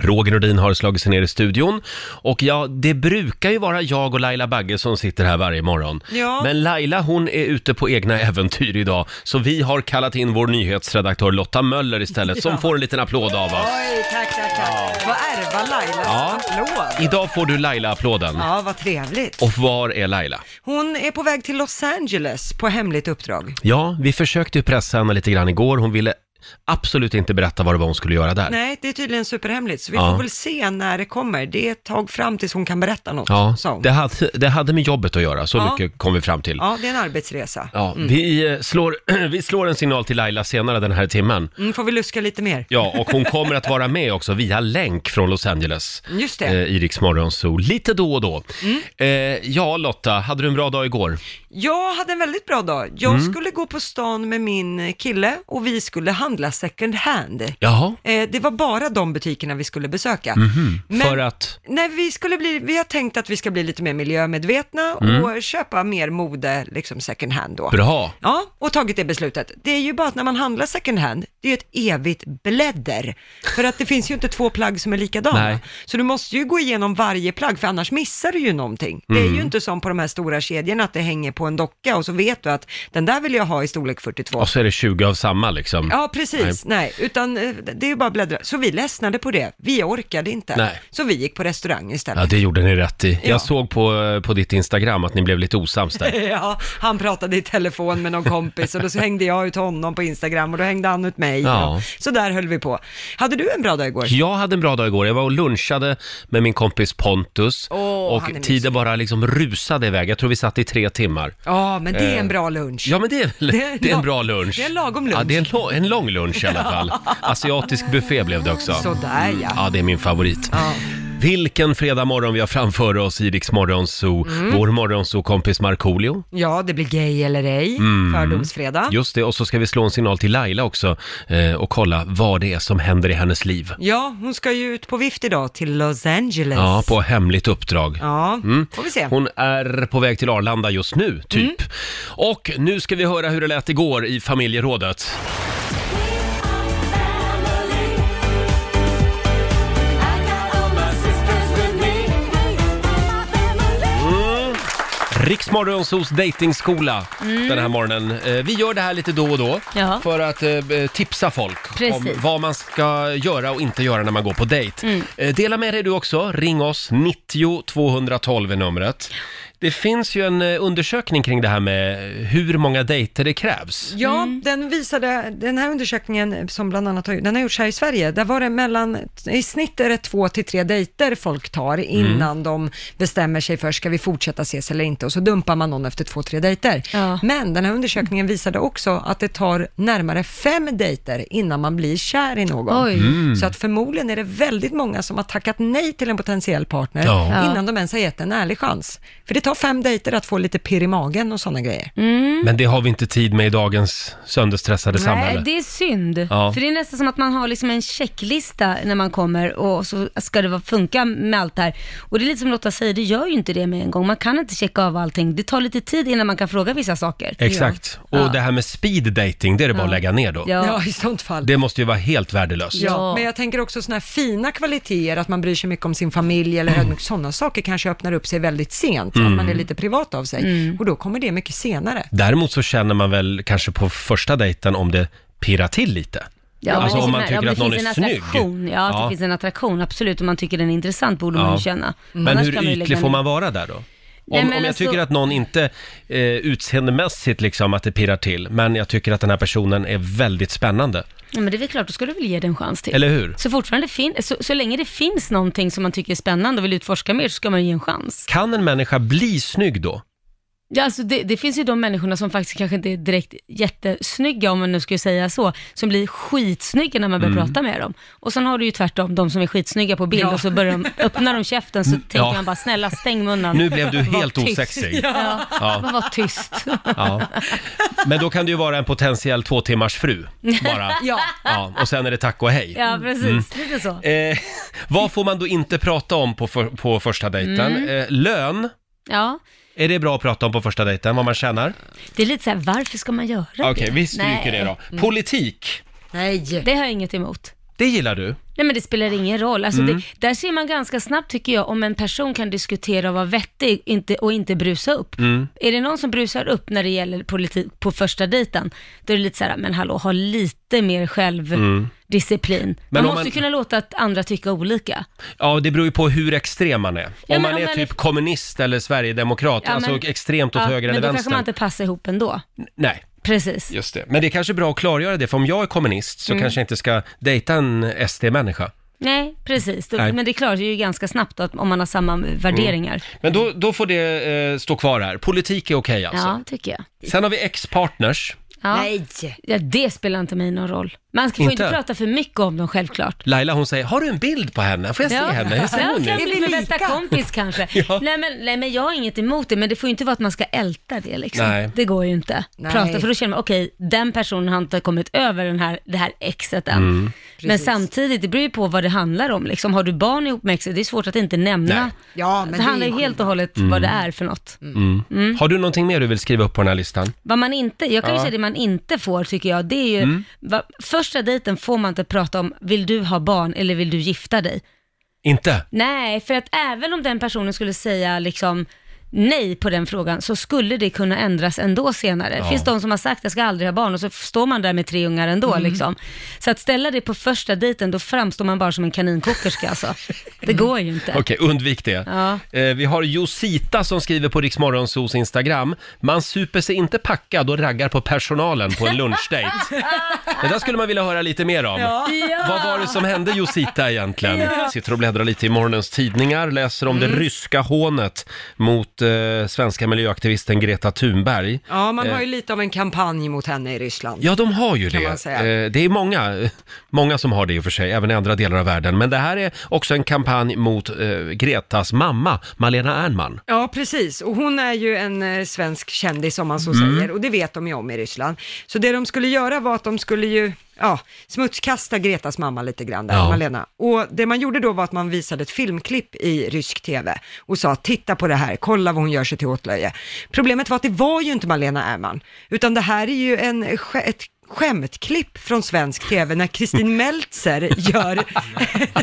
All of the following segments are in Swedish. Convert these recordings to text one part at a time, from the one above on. Roger Nordin har slagit sig ner i studion. Och ja, det brukar ju vara jag och Laila Bagge som sitter här varje morgon. Ja. Men Laila hon är ute på egna äventyr idag. Så vi har kallat in vår nyhetsredaktör Lotta Möller istället, som Ja. får en liten applåd av oss. Oj, tack, tack, tack. Vad ärva Lailas Ja. applåd. Idag får du Laila-applåden. Ja, vad trevligt. Och var är Laila? Hon är på väg till Los Angeles på hemligt uppdrag. Ja, vi försökte ju pressa henne lite grann igår. Hon ville absolut inte berätta vad det var hon skulle göra där. Nej, det är tydligen superhemligt, så vi Ja. får väl se när det kommer. Det är ett tag fram tills hon kan berätta något, Ja, sa hon. det hade, det hade med jobbet att göra, så Ja. mycket kom vi fram till. Ja, Mm. det är en arbetsresa. Ja, vi, eh, slår, vi slår en signal till Laila senare den här timmen. Mm, får vi luska lite mer? Ja, och hon kommer att vara med också via länk från Los Angeles. Just Mm, det. Mm. Eh, I Rix Morgon Zoo, lite då och då. Eh, ja, Lotta, hade du en bra dag igår? Jag hade en väldigt bra dag. Jag Mm. skulle gå på stan med min kille och vi skulle handla second hand. Jaha, Eh, det var bara de butikerna vi skulle besöka. Men- Mhm. för att... Nej, vi, skulle bli, vi har tänkt att vi ska bli lite mer miljömedvetna och köpa mer mode, liksom second hand då. Mm. Bra! Ja, och tagit det beslutet. Det är ju bara att när man handlar second hand, det är ju ett evigt blädder. För att det finns ju inte två plagg som är likadana. Nej. Så du måste ju gå igenom varje plagg, för annars missar du ju någonting. Det Mm. är ju inte som på de här stora kedjorna, att det hänger på en docka och så vet du att den där vill jag ha i storlek 42. Och så är det 20 av samma liksom. Ja, precis. Nej, utan eh, det är ju bara att bläddra. Så vi ledsnade på det. Vi orkade inte. Nej. Så vi gick på restaurang istället. Ja, det gjorde ni rätt i. Ja. Jag såg på, eh, på ditt Instagram att ni blev lite osams där. Ja, han pratade i telefon med någon kompis och då så hängde jag ut honom på Instagram och då hängde han ut mig. Ja. Och Så där höll vi på. Hade du en bra dag igår? Jag hade en bra dag igår. Jag var och lunchade med min kompis Pontus Åh, han är och tiden bara liksom rusade iväg. Jag tror vi satt i tre timmar. Ja, men det är en bra lunch. Eh, Ja, men det är, väl- Det är en det är en la- bra lunch. det är en lagom Ja, lunch. det är en, lo- en lång lunch i alla fall. Asiatisk buffé blev det också. Mm. Sådär ja. Ja, det är min favorit. Ja. Vilken fredag morgon vi har framför oss i Rix Morgonzoo. Mm. Vår morgonzoo-kompis Markoolio. Ja, det blir gay eller ej, Mm. fördomsfredag. Just det, och så ska vi slå en signal till Laila också eh, och kolla vad det är som händer i hennes liv. Ja, hon ska ju ut på vift idag till Los Angeles. Ja, på Mm. hemligt uppdrag. Ja, får vi se. Hon är på väg till Arlanda just nu, typ. Mm. Och nu ska vi höra hur det lät igår i familjerådet. Riksmorgonsos dejtingskola den här morgonen. Eh, Vi gör det här lite då och då Mm. Ja. för att eh, b- tipsa folk om Precis. Mm. vad man ska göra och inte göra när man går på dejt. Eh, Dela med dig du också. Ring oss, 90 212 är numret. Det finns ju en eh, undersökning kring det här med hur många dejter det krävs. Ja, Mm. den visade, den här undersökningen som bland annat har, den har gjorts här i Sverige, där var det mellan, i snitt är det två till tre dejter folk tar Mm. innan de bestämmer sig för, ska vi fortsätta ses eller inte? Och så dumpar man någon efter två, tre dejter. Ja. Men den här undersökningen visade också att det tar närmare fem dejter innan man blir kär i någon. Oj. Så att förmodligen är det väldigt många som har tackat nej till en potentiell partner Ja. Ja. innan de ens har gett en ärlig chans. För det tar fem dejter att få lite pirr i magen och sådana grejer. Mm. Men det har vi inte tid med i dagens sönderstressade Nej, samhälle. det är synd. Ja. För det är nästan som att man har liksom en checklista när man kommer och så ska det vara- funka med allt det här. Och det är lite som Lotta säger, det gör ju inte det med en gång. Man kan inte checka av allting. Det tar lite tid innan man kan fråga vissa saker. Exakt. Och Ja. det här med speed dating, det är det bara att Ja. lägga ner då. Ja. Ja, i sånt fall. Det måste ju vara helt värdelöst. Ja. Ja. men jag tänker också sådana här fina kvaliteter, att man bryr sig mycket om sin familj eller Mm. ödmjuk, sådana saker kanske öppnar upp sig väldigt sent, att man är lite privat av sig. Mm. Och då kommer det mycket senare. Däremot så känner man väl kanske på första dejten om det pirrar till lite. Ja, alltså men det om man finns- tycker ja, att någon är snygg. Attraktion. Ja, att Ja. det finns en attraktion, absolut. Om man tycker den är intressant borde man Ja. ju känna. Mm. Men Annars hur kan ju lägga ytlig får ner. man vara där då? Om, Nej, men om jag alltså- tycker att någon inte eh, utseendemässigt liksom att det pirrar till, men jag tycker att den här personen är väldigt spännande. Ja, men det är väl klart, då ska du väl ge den en chans till. Eller hur? Så, fortfarande fin- så, så länge det finns någonting som man tycker är spännande och vill utforska mer så ska man ge en chans. Kan en människa bli snygg då? Ja, alltså det, det finns ju de människorna som faktiskt kanske inte är direkt jättesnygga, om man nu skulle säga så, som blir skitsnygga när man börjar Mm. prata med dem. Och sen har du ju tvärtom de som är skitsnygga på bild Ja. och så börjar de, öppnar de käften så tänker Mm. ja. man bara snälla stäng munnen. Nu blev du Var helt tyst. osexig. Ja, Ja. bara var tyst. Ja. Men då kan du ju vara en potentiell två timmars fru bara. Ja. Ja, och sen är det tack och hej. Ja, precis. Lite så. Eh, vad får man då inte prata om på, för, på första dejten? Mm. Eh, lön, Ja, är det bra att prata om på första dejten, vad man tjänar? det är lite så här, varför ska man göra Okej, det? vi stryker Nej. det då. Politik, Nej. Det har jag inget emot. det gillar du? Nej men det Ah. spelar ingen roll. Alltså Mm. det, där ser man ganska snabbt tycker jag om en person kan diskutera och vara vettig inte, och inte brusa upp. Mm. Är det någon som brusar upp när det gäller politik på första dejten, då är det lite så här, men hallå, ha lite mer självdisciplin. Mm. Men Man om måste man- ju kunna låta att andra tycka olika. Ja, det beror ju på hur extrem man är. Ja, om men man om är man typ är- kommunist eller sverigedemokrat, Ja, alltså men- extremt åt Ja, höger eller men då vänster. kanske man inte passar ihop ändå. Nej. Precis. Just det. Men det är kanske bra att klargöra det, för om jag är kommunist Mm. så kanske jag inte ska dejta en SD-människa. Nej, precis. Då, Nej. Mm. Men det klarar ju ganska snabbt då, att- om man har samma värderingar. Men då, då får det eh, stå kvar här. Politik är okej alltså. Ja, tycker jag. Sen har vi ex-partners. Ja. Nej! Ja, det spelar inte mig någon roll. Man ska- får Inte? inte prata för mycket om dem, självklart. Laila hon säger, har du en bild på henne? Får jag se henne? Hur ser Ja, hon kan ut? bli min bästa kompis kanske. Ja. nej, men, nej, men jag har inget emot det, men det får ju inte vara att man ska älta det liksom. Nej. Det går ju inte. Nej. Prata, för då känner man, okej, den personen har inte kommit över den här, det här exet än. Mm. Men Precis. samtidigt, det beror ju på vad det handlar om liksom. Har du barn ihop med exet, det är svårt att inte nämna. Nej. Mm. Ja, men det, det är handlar ju ju helt och hållet vad det är för något. Har du någonting mer du vill skriva upp på den här listan? Vad man inte, jag kan ju Ja. Mm. säga det man inte får tycker jag, det är ju, va, första dejten får man inte prata om, vill du ha barn eller vill du gifta dig? Inte? Nej, för att även om den personen skulle säga liksom nej på den frågan, så skulle det kunna ändras ändå senare. Ja. Det finns de som har sagt jag ska aldrig ha barn och så står man där med tre ungar ändå Mm. liksom. Så att ställa det på första dejten, då framstår man bara som en kaninkockerska alltså. Det går ju inte. Okej, undvik det. Ja. Eh, vi har Josita som skriver på Riksmorgonsos Instagram. Man super sig inte packad och raggar på personalen på en lunchdate. det där skulle man vilja höra lite mer om. Vad var det som hände Josita egentligen? Sitter och bläddrar lite i morgonens tidningar, läser om Mm. det ryska hånet mot eh, svenska miljöaktivisten Greta Thunberg. Ja, man Eh. har ju lite av en kampanj mot henne i Ryssland. Ja, de har ju man det. säga. Eh, Det är många, många som har det i och för sig, även i andra delar av världen. Men det här är också en kampanj mot eh, Gretas mamma, Malena Ernman. Ja, precis. Och hon är ju en eh, svensk kändis om man så Mm. säger, och det vet de ju om i Ryssland. Så det de skulle göra var att de skulle ju ja, smutskasta Gretas mamma lite grann där, Ja. Malena. Och det man gjorde då var att man visade ett filmklipp i rysk tv och sa titta på det här, kolla vad hon gör sig till åtlöje. Problemet var att det var ju inte Malena Ernman, utan det här är ju en, sk- ett skämtklipp från svensk tv när Kristin Meltzer gör...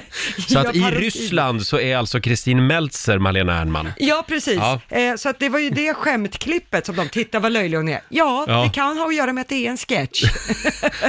Så att i gör parodi. Ryssland så är alltså Kristin Meltzer Malena Ernman. Ja, precis. Ja. Eh, så att det var ju det skämtklippet som de tittade vad löjlig hon är. Ja, Ja. det kan ha att göra med att det är en sketch.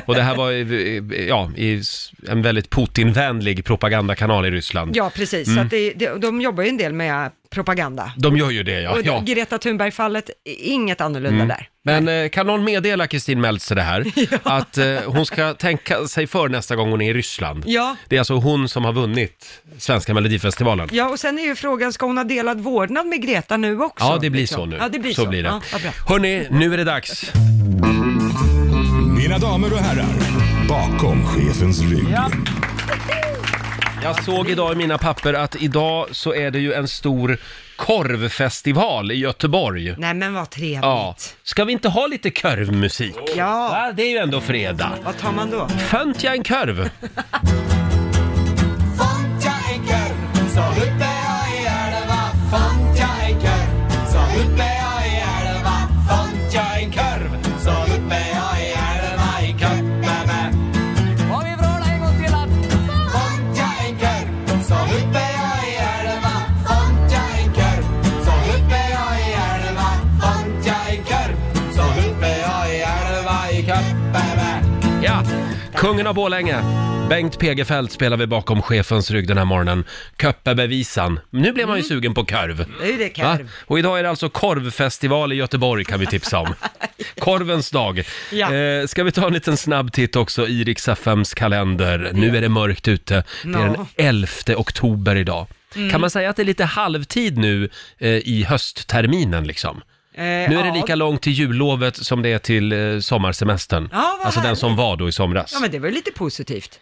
Och det här var i- i- ja, i s- en väldigt Putinvänlig propagandakanal i Ryssland. Ja, precis. Mm. Så att det, det, de jobbar ju en del med propaganda. De gör ju det, ja. Och ja. Greta Thunberg-fallet, i- inget annorlunda där. Men eh, kan någon meddela Kristin Meltzer det här? Att eh, hon ska tänka sig för nästa gång hon är i Ryssland. Ja. Det är alltså hon som har vunnit Svenska Melodifestivalen. Ja, och sen är ju frågan, ska hon ha delad vårdnad med Greta nu också? Ja, det blir liksom? så nu. Ja, det blir så, så. blir det. Ja, vad bra. Hörni, nu är det dags. Mina damer och herrar, bakom chefens rygg. Jag såg idag i mina papper att idag så är det ju en stor korvfestival i Göteborg. Nej, men vad trevligt. Ja. Ska vi inte ha lite korvmusik? Ja. Va? Det är ju ändå fredag. Vad tar man då? Fönt jag en korv? Fant jag en korv så uppe jag i elva Fant jag en korv så uppe jag i elva Fant jag en korv så uppe jag i elva I Kappeme Och vi vråla en gång till att Fant jag en korv så uppe jag i elva Fant jag en korv så uppe jag i elva Fant jag en korv så uppe jag i elva I Kappeme Ja, kungen av Borlänge. Bengt Pegefeld spelar vi bakom chefens rygg den här morgonen. Köppebevisan. Nu blev man Mm. ju sugen på korv. Det är ju det, Va? korv. Och idag är det alltså korvfestival i Göteborg kan vi tipsa om. Korvens dag. Ja. Eh, ska vi ta en liten snabb titt också i Rix FMs kalender. Nu är det mörkt ute. Det är den Ja. Mm. 11 oktober idag. Kan man säga att det är lite halvtid nu eh, i höstterminen liksom? Eh, Nu är det lika långt till jullovet som det är till eh, sommarsemestern. Ja, vad alltså den härligt. som var då i somras. Ja, men det var ju lite positivt.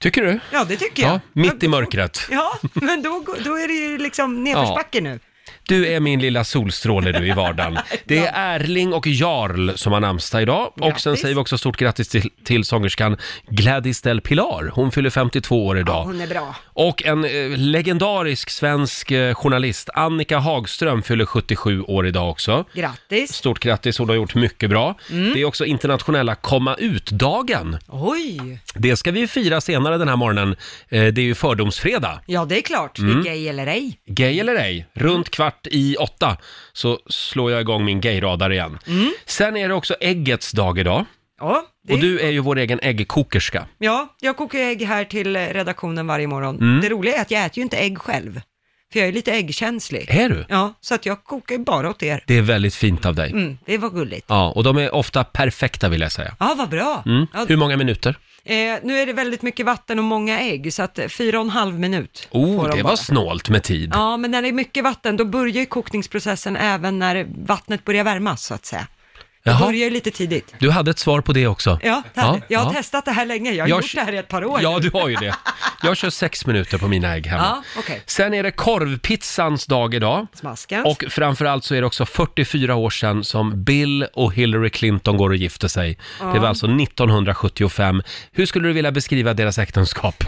Tycker du? Ja, det tycker Ja, jag. mitt i mörkret. Ja, men då, går- då är det ju liksom nedförsbacke nu. Du är min lilla solstråle du i vardagen. Det är Erling och Jarl som har namnsdag idag. Och sen Grattis. säger vi också stort grattis till, till sångerskan Gladys Del Pilar. Hon fyller 52 år idag. Hon är bra. Och en eh, legendarisk svensk eh, journalist, Annika Hagström, fyller 77 år idag också. Grattis. Stort grattis, hon har gjort mycket bra. Mm. Det är också internationella komma ut-dagen. Oj! Det ska vi fira senare den här morgonen. Eh, Det är ju fördomsfredag. Ja, det är klart. Mm. Gay eller ej. Gay eller ej, runt kvart i åtta så slår jag igång min gayradar igen. Sen är det också äggets dag idag. Ja, Mm. det Och du är ju vår egen äggkokerska. Ja, jag kokar ägg här till redaktionen varje morgon. Mm. Det roliga är att jag äter ju inte ägg själv, för jag är lite äggkänslig. Är du? Ja, så att jag kokar ju bara åt er. Det är väldigt fint av dig. Mm, det var gulligt. Ja, och de är ofta perfekta vill jag säga. Ja, vad bra. Mm. Ja, Hur många minuter? eh, nu är det väldigt mycket vatten och många ägg, så att eh, fyra och en halv minut får Oh, de det bara. var snålt med tid. Ja, men när det är mycket vatten, då börjar ju kokningsprocessen även när vattnet börjar värmas, så att säga. Det Jaha. börjar ju lite tidigt. Du hade ett svar på det också. Ja, det hade- jag har testat det här länge. Jag har Jag- gjort det här i ett par år. Ja, du har ju det. Jag kör sex minuter på mina ägg hemma. Ja, okej. Sen är det korvpizzans dag idag. Smaskens. Och framförallt så är det också 44 år sedan som Bill och Hillary Clinton går och gifter sig. Det var alltså 1975. Hur skulle du vilja beskriva deras äktenskap?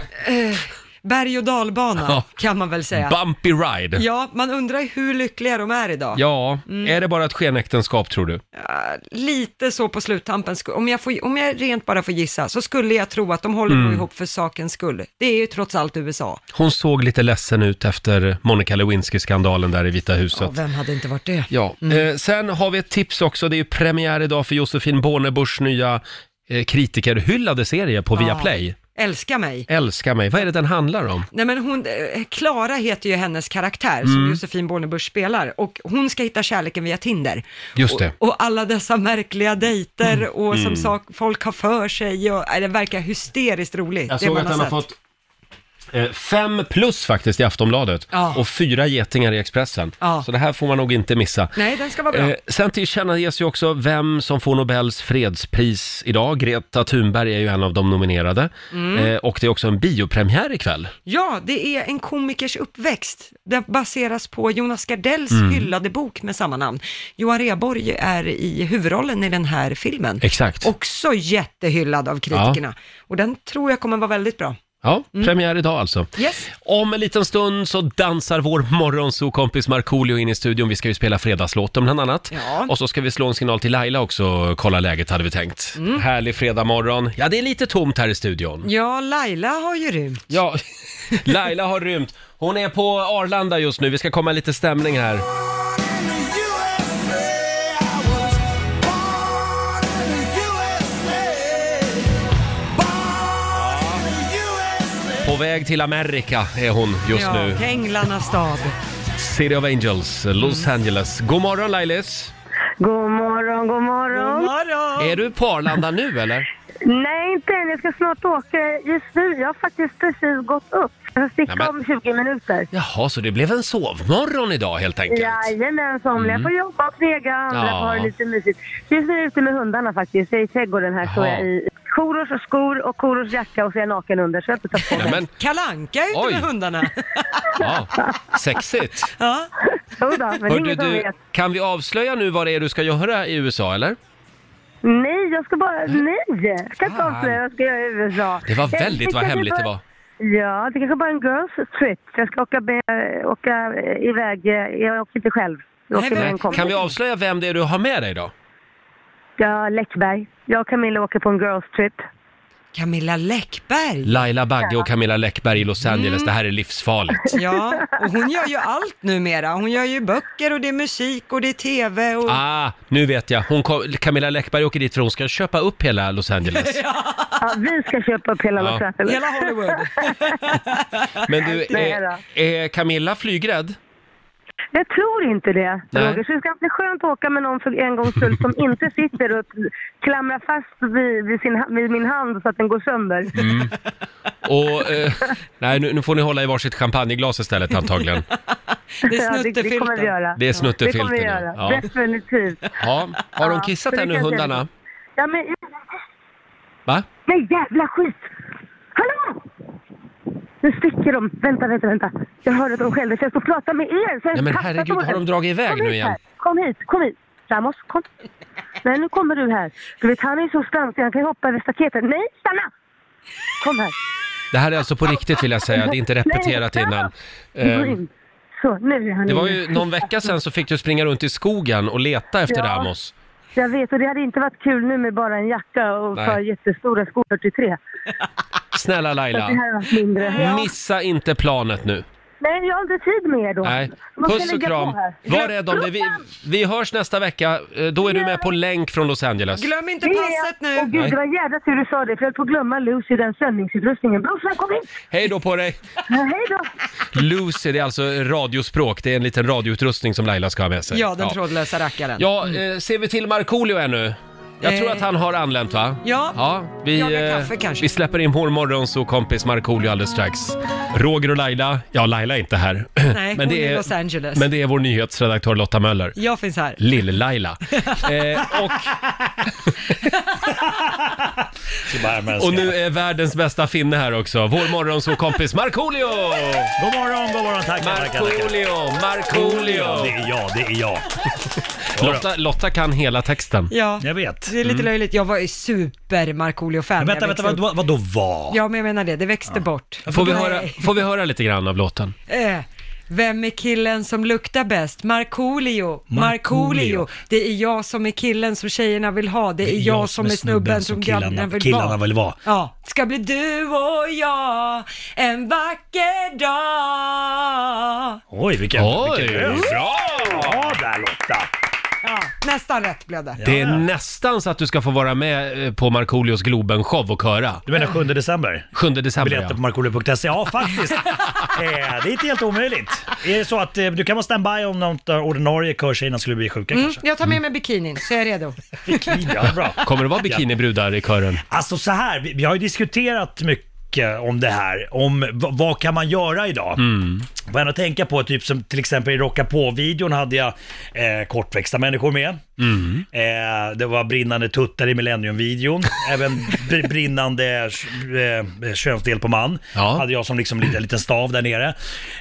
Berg och dalbana, Ja. kan man väl säga. Bumpy ride. Ja, Ja, man undrar hur lyckliga de är idag. är det bara ett skenäktenskap tror du? Ah, Lite så på sluttampen, sku- om jag, får, om jag rent bara får gissa, så skulle jag tro att de håller Mm. nog ihop för sakens skull. Det är ju trots allt USA. Hon såg lite ledsen ut efter Monica Lewinsky-skandalen där i Vita Ja, huset. vem hade inte varit det? Ja, eh, sen har vi ett tips också. Det är ju premiär idag för Josefin Bornebuschs nya eh, kritikerhyllade serie på Viaplay. Älska mig. Älska mig. Vad är det den handlar om? Nej men hon, eh, Klara heter ju hennes karaktär Mm. som Josefin Bornebusch spelar och hon ska hitta kärleken via Tinder. Just det. Mm. Och, och alla dessa märkliga dejter och som sak, folk har för sig och nej, det verkar hysteriskt roligt. Jag det såg man att han har sett. fått eh, fem plus faktiskt i Aftonbladet Ja. och fyra getingar i Expressen. Ja. Så det här får man nog inte missa. Nej, den ska vara bra. Eh, sen tillkännages ju också vem som får Nobels fredspris idag. Greta Thunberg är ju en av de nominerade. Mm. Eh, och det är också en biopremiär ikväll. Ja, det är en komikers uppväxt. Det baseras på Jonas Gardells Mm. hyllade bok med samma namn. Johan Rheborg är i huvudrollen i den här filmen. Exakt. Också jättehyllad av kritikerna. Och den tror jag kommer vara väldigt bra. Ja, Mm. premiär idag alltså. Yes. Om en liten stund så dansar vår morgonsokompis Markoolio in i studion. Vi ska ju spela fredagslåten bland annat. Ja. Och så ska vi slå en signal till Laila också och kolla läget hade vi tänkt. Härlig fredagmorgon. Ja, det är lite tomt här i studion. Ja, Laila har ju rymt. Ja, Laila har rymt. Hon är på Arlanda just nu. Vi ska komma lite stämning här. På väg till Amerika är hon just Ja, nu. till Änglarnas stad. City of Angels, Los Angeles. God morgon Lailis! God morgon, god God morgon. morgon! Är du på Arlanda nu eller? Nej, inte än. Jag ska snart åka. Just nu, jag har faktiskt precis gått upp. Jag Nej, sticker men- om 20 minuter. Jaha, så det blev en sovmorgon idag helt enkelt? Jajamensan, jag får jobba och knega, andra Mm. Ja. får ha det lite mysigt. Just nu är jag ute med hundarna faktiskt. Jag är i trädgården här, står Jaha. jag i Korosh och skor och Korosh jacka och så är jag naken under så jag har inte tagit på Nej, mig. men, Kalanka är Oj. ute med hundarna. ja, sexigt! Ja. Jodå, men det är Hörde ingen som du, vet. kan vi avslöja nu vad det är du ska göra i USA eller? Nej, jag ska bara... Nej! Jag ska inte Mm. Fan. avslöja vad jag ska göra i USA. Det var Jag väldigt vad tycker hemligt det bara- var. Ja, det kanske bara är en girls trip. Jag ska åka, be, åka eh, iväg. eh, Jag åker inte själv. Jag Nej, åker med Nej. en kompis. Kan vi avslöja vem det är du har med dig då? Ja, Läckberg. Jag och Camilla åker på en girls trip. Camilla Läckberg. Laila Bagge och Camilla Läckberg i Los Mm. Angeles, det här är livsfarligt. Ja, och hon gör ju allt numera. Hon gör ju böcker och det är musik och det är tv Mm. och... Ah, nu vet jag. Hon kom, Camilla Läckberg åker dit för hon ska köpa upp hela Los Angeles. Ja, vi ska köpa upp hela Ja. Los Angeles. Hela Hollywood. Men du, Nej är, är Camilla flygrädd? Jag tror inte det, Nej. Roger. Så det ska bli skönt att åka med någon för en gångs skull som inte sitter och klamrar fast vid, vid, sin, ha- vid min hand så att den går sönder. Och, eh, nej, nu, nu får ni hålla i varsitt champagneglas istället antagligen. Det Ja, är det, det kommer vi snuttefilten. göra. Det är Det kommer snuttefilten. vi ja. göra, Ja. definitivt. Ja. Har de Ja, kissat så det ännu kan jag säga. hundarna? Ja, men... Va? Nej, jävla skit! Hallå! Nu sticker de. Vänta, vänta, vänta. Jag hörde att de skällde så jag stod och pratade med er. Så jag Nej, men kastar herregud, dem. har de dragit iväg kom nu hit igen? Här. Kom hit, kom hit. Ramos, kom. Nej, nu kommer du här. Du vet, han är så stansig, han kan ju hoppa över staketet. Nej, stanna! Kom här. Det här är alltså på riktigt vill jag säga, det är inte repeterat Nej, innan. Gå Eh, in. Så, nu är han Det var inne. ju någon vecka sedan så fick du springa runt i skogen och leta efter Mm. Ja. Ramos. Jag vet, och det hade inte varit kul nu med bara en jacka och Nej. ett par jättestora skor 43. Snälla Så att det här Laila, har varit mindre. Ja. missa inte planet nu. Nej, jag har inte tid med er då. Nej. Man ska Puss och lägga kram. på här. Var rädd om dig. Vi, vi hörs nästa vecka. Eh, Då är du med på länk från Los Angeles. Glöm inte Det är passet jag. Åh nu. gud, Nej. det var en jävla tur du sa det, för jag höll på att glömma Lucy, den sändningsutrustningen. Brorsan, kom hit! Hej då på dig! Ja, Hej då! Lucy, det är alltså radiospråk. Det är en liten radioutrustning som Laila ska ha med sig. Ja, den trådlösa rackaren. Ja, eh, ser vi till Markoolio ännu? Jag tror Eh. att han har anlänt va? Ja. ja vi, Jagar eh, kaffe, kanske. vi släpper in vår morgonsåkompis Markoolio alldeles strax. Roger och Laila, ja Laila är inte här. Nej, hon är i Los Angeles. Men det är vår nyhetsredaktör Lotta Möller. Jag finns här. Lill-Laila. eh, och, Så bara med en och skål. nu är världens bästa finne här också. Vår morgonsåkompis Markoolio! God morgon, god morgon, tackar, tackar, tackar. Markoolio, Ja, Det Markoolio! är jag, det är jag. Lotta, Lotta kan hela texten. Ja, Jag vet. det är lite löjligt. Jag var ju super fan Men vänta, vänta, vad, vad, vadå var? Ja, men jag menar det. Det växte bort. Får vi, Nej. höra, får vi höra lite grann av låten? Eh, Vem är killen som luktar bäst? Markoolio, Markoolio. Markoolio. Det är jag som är killen som tjejerna vill ha. Det är, jag, som är snubben som grabbarna vill killarna vara. vill vara. Ja, ska bli du och jag en vacker dag. Oj, vilken... Oj. vilken öl. Bra! Ja, där Lotta. Ja, nästan rätt blev det. Det är nästan så att du ska få vara med eh, på Markoolios Globen-show och köra. Du menar 7 december? 7 december Biljetter på ja. markoolio.se. Ja, faktiskt. eh, det är inte helt omöjligt. Är det så att eh, du kan vara standby om någon av ordinarie körtjejerna skulle bli sjuka kanske? Mm, Mm. Jag tar med mig bikinin så är jag redo. Bikini, ja, bra. Kommer det vara bikinibrudar i kören? Alltså så här, vi, vi har ju diskuterat mycket om det här, om v- vad kan man göra idag? Vad jag att tänka på, typ som till exempel i Rocka på-videon hade jag eh, kortväxta människor med. Eh, det var brinnande tuttar i Millennium-videon, även br- brinnande eh, könsdel på man. Ja. Hade jag som liksom liten, liten stav där nere.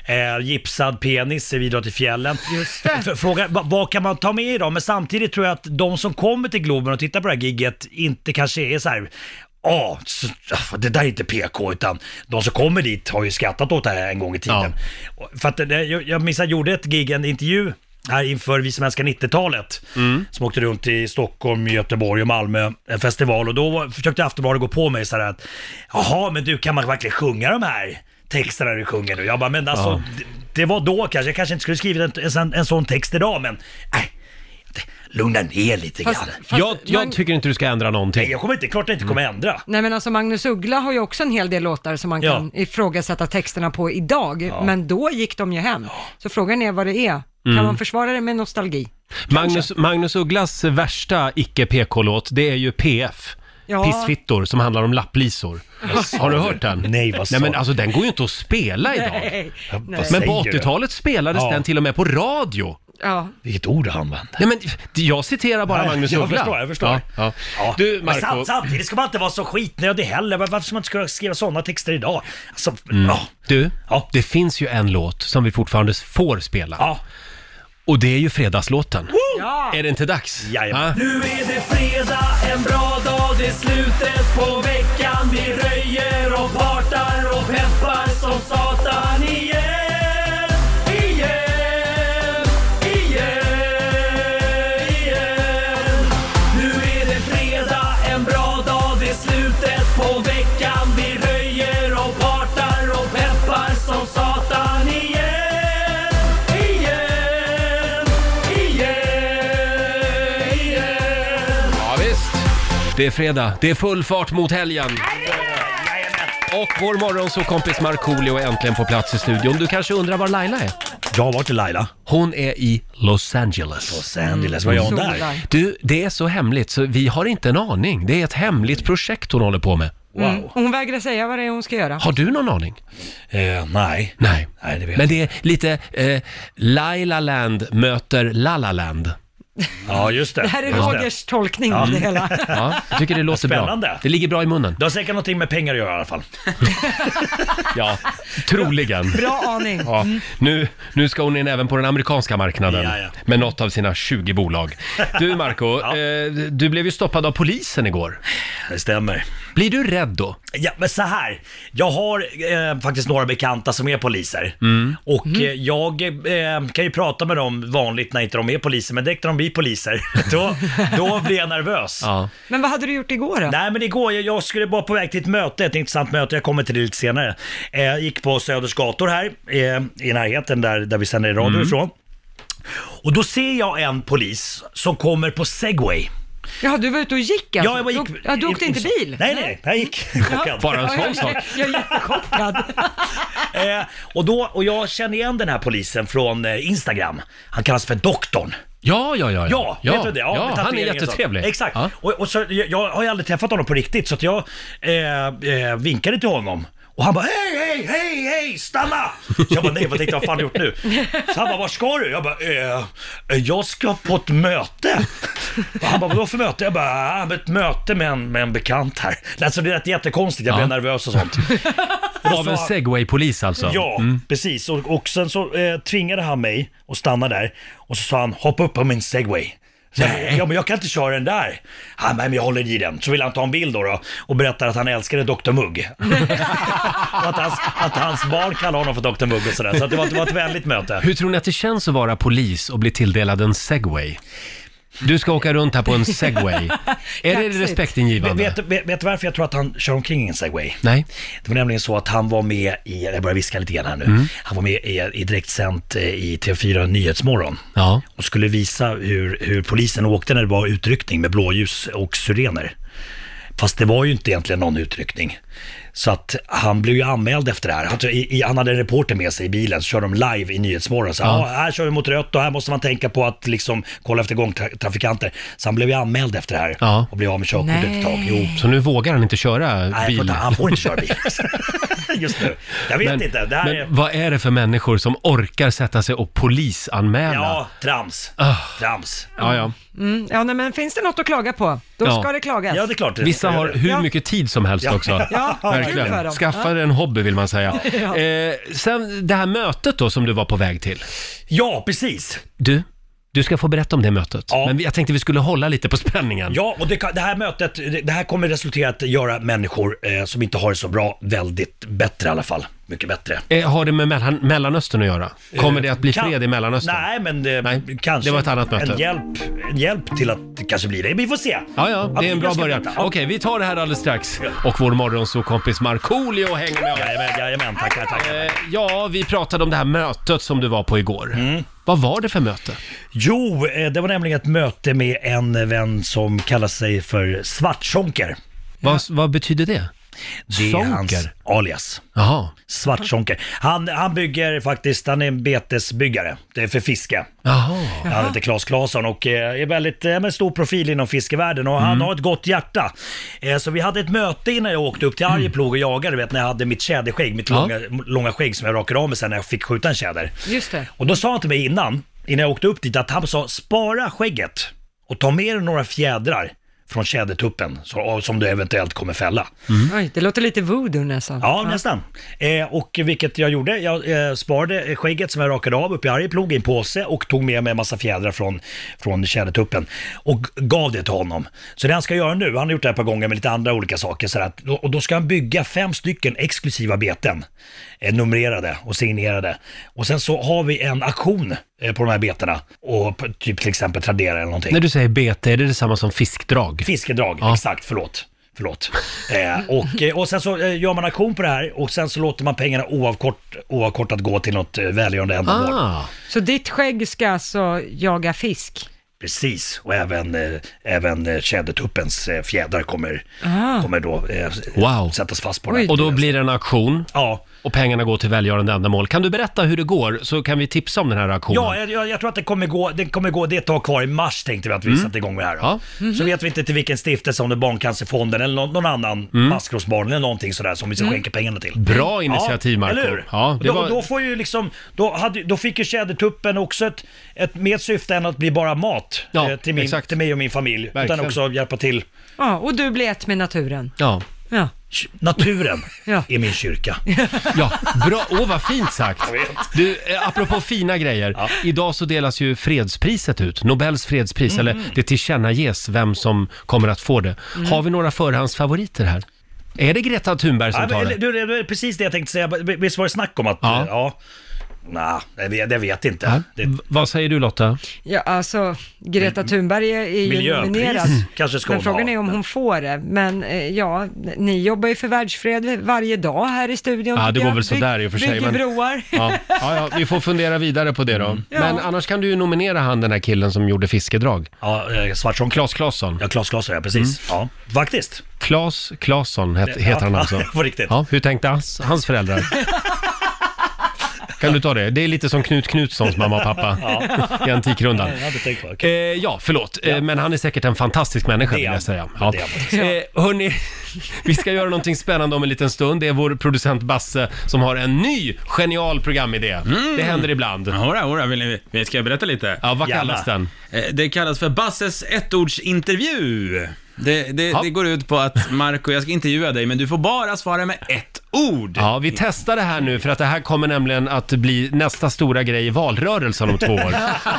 Eh, gipsad penis i videon till fjällen. Just det. F- Fråga, va- vad kan man ta med idag? Men samtidigt tror jag att de som kommer till Globen och tittar på det här gigget inte kanske är så här Ja, så- ah, det där är inte PK utan de som kommer dit har ju skrattat åt det här en gång i tiden. Och- För att det, jag, jag minns jag gjorde ett gig, en intervju här inför Vi som älskar 90-talet. Som åkte runt i Stockholm, Göteborg och Malmö, en festival. Och då var, försökte Aftonbladet gå på mig så här att Jaha, men du kan man verkligen sjunga de här texterna du sjunger nu? Jag bara, men alltså det, det var då kanske, jag kanske inte skulle skrivit en, en, sån- en sån text idag men nej, lugna ner lite Fast- grann. fast Jag, jag man- tycker inte du ska ändra Nej, någonting. jag kommer inte, klart jag inte kommer ändra. Nej men alltså Magnus Uggla har ju också en hel del låtar som man Ja. kan ifrågasätta texterna på idag, men då gick de ju hem. Så frågan är vad det är. Mm. Kan man försvara det med nostalgi? Magnus, Magnus Ugglas värsta icke-PK-låt, det är ju PF. Ja. Pissfittor som handlar om lapplisor. Har du hört den? Nej, vad sa Nej men du? alltså den går ju inte att spela idag. Nej. Ja, vad Nej. Men på säger du? 80-talet spelades Ja. den till och med på radio. Ja. Vilket ord han använde. Nej men jag citerar bara Nej, Magnus jag Uggla. förstår, jag förstår. Ja, ja. Ja. Du Men Marco, sam- samtidigt ska man inte vara så skitnödig heller. Var- Varför ska man inte kunna skriva sådana texter idag? Alltså, ja. du, Ja. det finns ju en låt som vi fortfarande får spela. ja. Och det är ju fredagslåten. Ja. Är det inte dags? Jajamän. Ja. Nu är det fredag, en bra dag, det är slutet på veckan. Vi röjer och partar och peppar som satan igen. Igen, igen, igen. Nu är det fredag, en bra dag, det är slutet på veckan. Vi röjer och partar och peppar som satan igen. Igen, igen, igen. Ja, visst. Det är fredag, det är full fart mot helgen. Och vår morgonsåkompis Markoolio är äntligen på plats i studion. Du kanske undrar var Laila är? Jag har varit i Laila. Hon är i Los Angeles. Los Angeles, var jag där? Solar. Du, det är så hemligt så vi har inte en aning. Det är ett hemligt projekt hon håller på med. Wow. Hon vägrar säga vad det är hon ska göra. Har du någon aning? Mm. Eh, nej. Nej. Nej, det vet Men det är lite eh, Laila Land möter Lala Land. Ja, just det. Det här är Just det. Rogers tolkning av det hela. Ja, jag tycker det låter Spännande. bra. Det ligger bra i munnen. Det har säkert någonting med pengar att göra i alla fall. Ja, troligen. Bra aning. Ja, nu, nu ska hon in även på den amerikanska marknaden Ja, ja. med något av sina 20 bolag. Du Marco, eh, du blev ju stoppad av polisen igår. Det stämmer. Blir du rädd då? Ja, men så här. Jag har eh, faktiskt några bekanta som är poliser. Och Eh, jag eh, kan ju prata med dem vanligt när inte de är poliser, men direkt när de blir poliser, då, då blir jag nervös. Ja. Men vad hade du gjort igår då? Nej men igår, jag, jag skulle bara på väg till ett möte, ett intressant möte, jag kommer till det lite senare. Eh, gick på Söders gator här, eh, i närheten där, där vi sänder radio ifrån. Och då ser jag en polis som kommer på segway. Jaha, du var ute och gick alltså? Ja, jag bara gick, Du, ja, du åkte inte bil? Nej, nej, jag gick chockad. Bara en Ja, sån jag, sak. jag, jag är jättechockad. Eh, och, då, och jag känner igen den här polisen från eh, Instagram. Han kallas för doktorn. Ja, ja, ja. Ja, ja. vet du det? Ja, med han är tatueringen och sånt. jättetrevlig. Exakt. Ja. Och, och så, jag, jag har ju aldrig träffat honom på riktigt, så att jag eh, eh, vinkade till honom. Och han bara hej, hej, hej, hej, stanna! Så jag bara nej, vad tänkte jag, vad fan har jag gjort nu? Så han bara, var ska du? Jag bara, eh, jag ska på ett möte. Och han bara, vadå för möte? Jag bara, "Ah, ett möte med en, med en bekant här. Alltså det lät jättekonstigt, jag blev Ja. nervös och sånt. Av en segway-polis alltså? Ja, precis. Och, och sen så eh, tvingade han mig att stanna där och så sa han hoppa upp på min segway. Så jag, Ja men jag kan inte köra den där. Han nej men jag håller i den. Så vill han ta en bild då, då och berättar att han älskade Dr Mugg. och att hans, att hans barn kallar honom för Dr Mugg och sådär. Så att det, var, det var ett vänligt möte. Hur tror ni att det känns att vara polis och bli tilldelad en segway? Du ska åka runt här på en segway. är det Kaxigt. respektingivande? Vet, vet, vet du varför jag tror att han kör omkring i en segway? Nej. Det var nämligen så att han var med i, jag börjar viska lite grann här nu, han var med i, i direktsänt eh, i TV4 Nyhetsmorgon. Ja. och skulle visa hur, hur polisen åkte när det var utryckning med blåljus och syrener. Fast det var ju inte egentligen någon utryckning. Så att han blev ju anmäld efter det här. Han, i, i, han hade en reporter med sig i bilen, så kör de live i Nyhetsmorgon. Så, ja. här kör vi mot rött och här måste man tänka på att liksom kolla efter gångtrafikanter. Så han blev ju anmäld efter det här Ja. och blev av med körkortet ett tag. Jo. Så nu vågar han inte köra Nej, bil? vänta, han får inte köra bil just nu. Jag vet Men, inte. Det här men är... vad är det för människor som orkar sätta sig och polisanmäla? Ja, trams. Ah. Trams. ja, ja. Mm, ja, nej, men finns det något att klaga på, då Ja. ska det klagas. Ja, det är klart. det- Vissa har hur Ja. mycket tid som helst Ja. också. Ja, kul för Verkligen. dem. Skaffa dig en hobby vill man säga. Eh, sen det här mötet då som du var på väg till. Ja, precis. Du, du ska få berätta om det mötet. Ja. Men vi- jag tänkte vi skulle hålla lite på spänningen. Ja, och det, kan- det här mötet, det- det här kommer resultera att göra människor eh, som inte har det så bra väldigt bättre i alla fall. Mycket bättre. Eh, har det med mellan, Mellanöstern att göra? Kommer det att bli Eh, Kan- fred i Mellanöstern? Nej, men det, Nej, kanske det var ett annat möte. En, hjälp, en hjälp till att det kanske blir det. Vi får se. Ja, ja, det är en jag bra ska början. veta. Okej, vi tar det här alldeles strax. Och vår morgonsåkompis Markoolio hänger med oss. Jajamän, jajamän, tackar, tackar. Eh, Ja, vi pratade om det här mötet som du var på igår. Vad var det för möte? Jo, eh, det var nämligen ett möte med en vän som kallar sig för Svartzonker. Vad, vad betyder det? Det är hans Zonker? alias. Jaha, Svartzonker. Han, han bygger faktiskt, han är en betesbyggare. Det är för fiske. jaha. Han heter Claes Claesson och eh, är väldigt eh, med stor profil inom fiskevärlden och Mm. han har ett gott hjärta. Eh, Så vi hade ett möte innan jag åkte upp till Arjeplog och jagade, du vet när jag hade mitt tjäderskägg, mitt Mm. Ja. långa, långa skägg som jag rakade av mig sen när jag fick skjuta en tjäder. Just det. Och då sa han till mig innan, innan jag åkte upp dit, att han sa spara skägget och ta med dig några fjädrar från tjädertuppen så- som du eventuellt kommer fälla. Mm. Oj, det låter lite voodoo nästan. Ja, nästan. Eh, och vilket jag gjorde, jag eh, sparade skägget som jag rakade av uppe i Arjeplog i en påse och tog med mig en massa fjädrar från, från tjädertuppen och gav det till honom. Så det han ska göra nu, han har gjort det här ett par gånger med lite andra olika saker, så att, och då ska han bygga fem stycken exklusiva beten, eh, numrerade och signerade. Och sen så har vi en auktion eh, på de här betena, och på- typ till exempel Tradera eller någonting. När du säger bete, är det detsamma som fiskdrag? Fiskedrag, Ja. exakt, förlåt. Förlåt. Eh, och, eh, och sen så eh, gör man auktion på det här och sen så låter man pengarna oavkort, oavkortat gå till något eh, välgörande ändamål. Ah, Så ditt skägg ska alltså jaga fisk? Precis, och även, eh, även eh, tjädertuppens eh, fjädrar kommer, kommer då eh, Wow. sättas fast på Oj. det. och då blir det en auktion Ja, och pengarna går till välgörande ändamål. Kan du berätta hur det går så kan vi tipsa om den här aktionen? Ja, eh, jag, jag, jag tror att det kommer gå, det kommer gå, det är ett tag kvar i mars tänkte vi att vi satte igång med det här. Mm. Ja. Så vet vi inte till vilken stiftelse, om det är Barncancerfonden eller någon, någon annan, Mm. Maskrosbarn eller någonting sådär som vi ska skänka pengarna till. Bra initiativ Marco. eller hur? Ja, det då, var... då får ju liksom, då, hade, då fick ju Tjädertuppen också ett, ett mer syfte än att bli bara mat Ja, eh, till, min, exakt. till mig och min familj. Verkligen. Utan också hjälpa till Ja, och du blir ett med naturen. Ja. Ja. naturen Ja. i min kyrka. Ja, bra. Åh, vad fint sagt. Du, eh, apropå fina grejer. Idag så delas ju fredspriset ut. Nobels fredspris, Mm. eller det tillkännages vem som kommer att få det. Har vi några förhandsfavoriter här? Är det Greta Thunberg som Ja, tar men, det? du, det var precis det jag tänkte säga, visst var det snack om att, Ja. ja, ja Nja, jag vet- jag vet inte. Ja. Det, V- Vad säger du Lotta? Ja, alltså Greta Thunberg är är ju Miljöpris nominerad. kanske ska Men hon frågan ha. är om hon får det. Men eh, ja, ni jobbar ju för världsfred varje dag här i studion. Ja, det tycker går jag. väl sådär Bygg- i och för sig, Bygger men- broar. Ja, ja, ja vi får fundera vidare på det då. Mm. Men annars kan du ju nominera han den här killen som gjorde fiskedrag. ja, eh, Svartson Klas Klasson. Ja, Klas Klas, ja precis. Mm. Ja, faktiskt. Klas Klasson het, heter han ja, alltså. på riktigt. Alltså. Ja, hur tänkte hans, hans föräldrar? Kan du ta det? Det är lite som Knut Knutssons mamma och pappa i Antikrundan. Jag hade tänkt på det. Eh, Okej. ja, förlåt. Eh, men han är säkert en fantastisk människa Det är vill jag han. säga. Ja. Det är Eh, hörni, vi ska göra någonting spännande om en liten stund. Det är vår producent Basse som har en ny genial programidé. Mm. Det händer ibland. Jodå, jodå, vill ni, vi- ska jag berätta lite? Ja, vad Gärna. kallas den? Eh, Det kallas för Basses ettordsintervju. Det, det, Ja. det går ut på att Marco, jag ska intervjua dig, men du får bara svara med ett ord. Ja, vi testar det här nu för att det här kommer nämligen att bli nästa stora grej i valrörelsen om två år.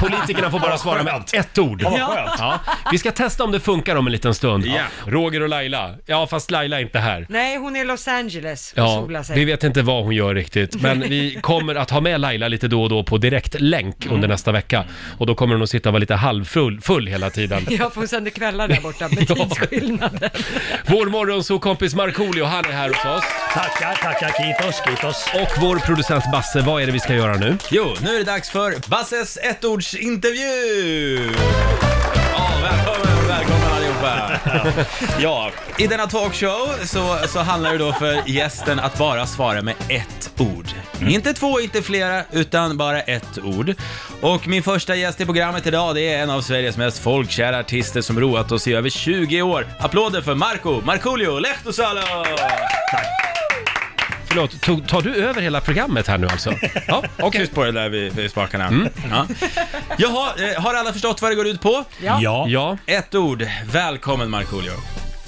Politikerna får bara svara med skönt. ett ord. Ja, vad skönt. Ja, vi ska testa om det funkar om en liten stund. Ja. Roger och Laila. Ja, fast Laila är inte här. Nej, hon är i Los Angeles och Ja, solar sig. vi vet inte vad hon gör riktigt, men vi kommer att ha med Laila lite då och då på direktlänk under nästa vecka. Och då kommer hon att sitta och vara lite halvfull full hela tiden. Ja, för hon sänder kvällar där borta med tidsskillnaden. Vår morgonsåkompis Markoolio, han är här hos oss. Tackar, tackar, kitos, kitos. Och vår producent Basse, vad är det vi ska göra nu? Jo, nu är det dags för Basses ettordsintervju! Ja, välkommen, välkommen allihopa! Ja, i denna talkshow så, så handlar det då för gästen att bara svara med ett ord. Inte två, inte flera, utan bara ett ord. Och min första gäst i programmet idag, det är en av Sveriges mest folkkära artister som roat oss i över 20 år. Applåder för Marco Markoolio Lehtosalo! Förlåt, tog, tar du över hela programmet här nu alltså? Ja, okej. Tyst på det där vid, vid spakarna. Mm. Ja. Jaha, eh, har alla förstått vad det går ut på? Ja. Ja, Ja, Ett ord. Välkommen Markoolio.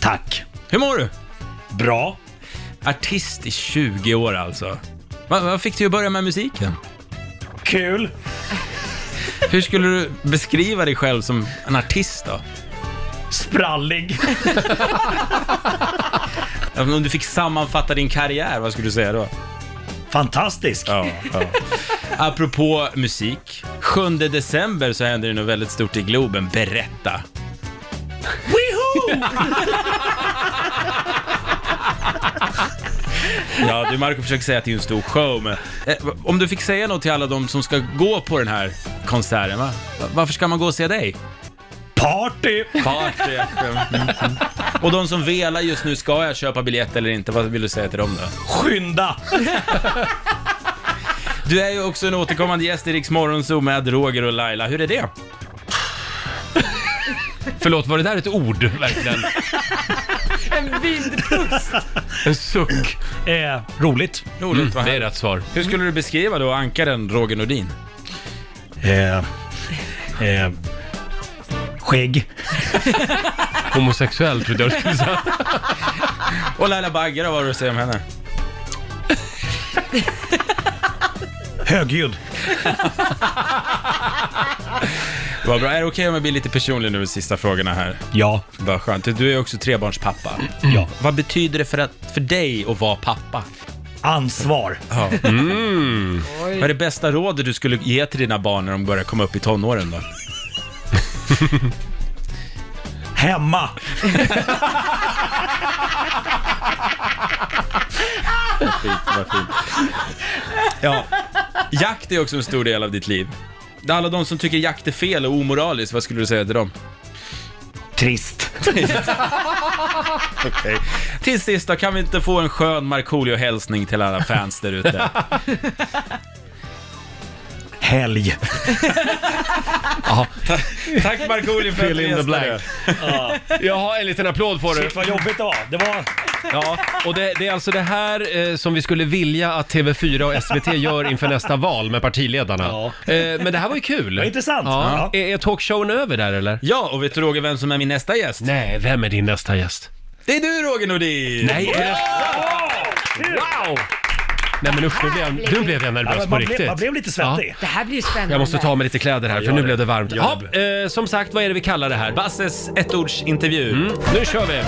tack. Hur mår du? Bra. Artist i 20 år alltså. Vad vad fick du att börja med musiken? Kul. Hur skulle du beskriva dig själv som en artist då? Sprallig. Om du fick sammanfatta din karriär, vad skulle du säga då? Fantastisk. Ja, ja. Apropå musik. 7 december så händer det något väldigt stort i Globen. Berätta. Ja, du Marco försöker säga att det är en stor show, men eh, om du fick säga något till alla de som ska gå på den här konserten, va? Va- varför ska man gå och se dig? Party. Party. Och de som velar just nu, ska jag köpa biljett eller inte? Vad vill du säga till dem då? Skynda. Du är ju också en återkommande gäst i Riks Morgonzoo med Roger och Laila. Hur är det? förlåt, var det där ett ord verkligen? En vindpust. En suck. Eh, roligt. Roligt, vad Det är härligt. rätt svar. Hur skulle du beskriva då ankaren Roger Nordin? Eh, eh, skägg. Homosexuell trodde jag du skulle säga. Och Laila Bagge då, vad har du att säga om henne? Högljudd. Vad bra. Är det okej om jag blir lite personlig nu med sista frågorna här? Ja. Vad skönt. Du är också trebarnspappa. Ja. Vad betyder det för, att, för dig att vara pappa? Ansvar. Ja. Vad är det bästa rådet du skulle ge till dina barn när de börjar komma upp i tonåren då? Hemma. Ja. Jakt är också en stor del av ditt liv. Alla de som tycker jakt är fel och omoraliskt, vad skulle du säga till dem? Trist. Okej. Till sist då, kan vi inte få en skön Markoolio-hälsning till alla fans där ute? Helg. Tack Markoolio för att Fill du in the gästade. blank. Jaha, en liten applåd får du. Shit vad jobbigt det var. Det var... Ja, och det, det är alltså det här eh, som vi skulle vilja att TV4 och SVT gör inför nästa val med partiledarna. Ja. Eh, men det här var ju kul. Vad intressant. Ja. Ja. Är, är talkshowen över där eller? Ja, och vet du Roger vem som är min nästa gäst? Nej, vem är din nästa gäst? Det är du Roger Nordin! Nej, är det Wow! Nej men usch, nu blev, jag- nu blev jag nervös Ja, men på man, riktigt. blev, man blev lite svettig. Det här blir ju spännande. Jag måste ta av mig lite kläder här för nu blev det varmt. Gör Ja, eh, som sagt, vad är det vi kallar det här? Mm, Basses ettordsintervju. Nu kör vi!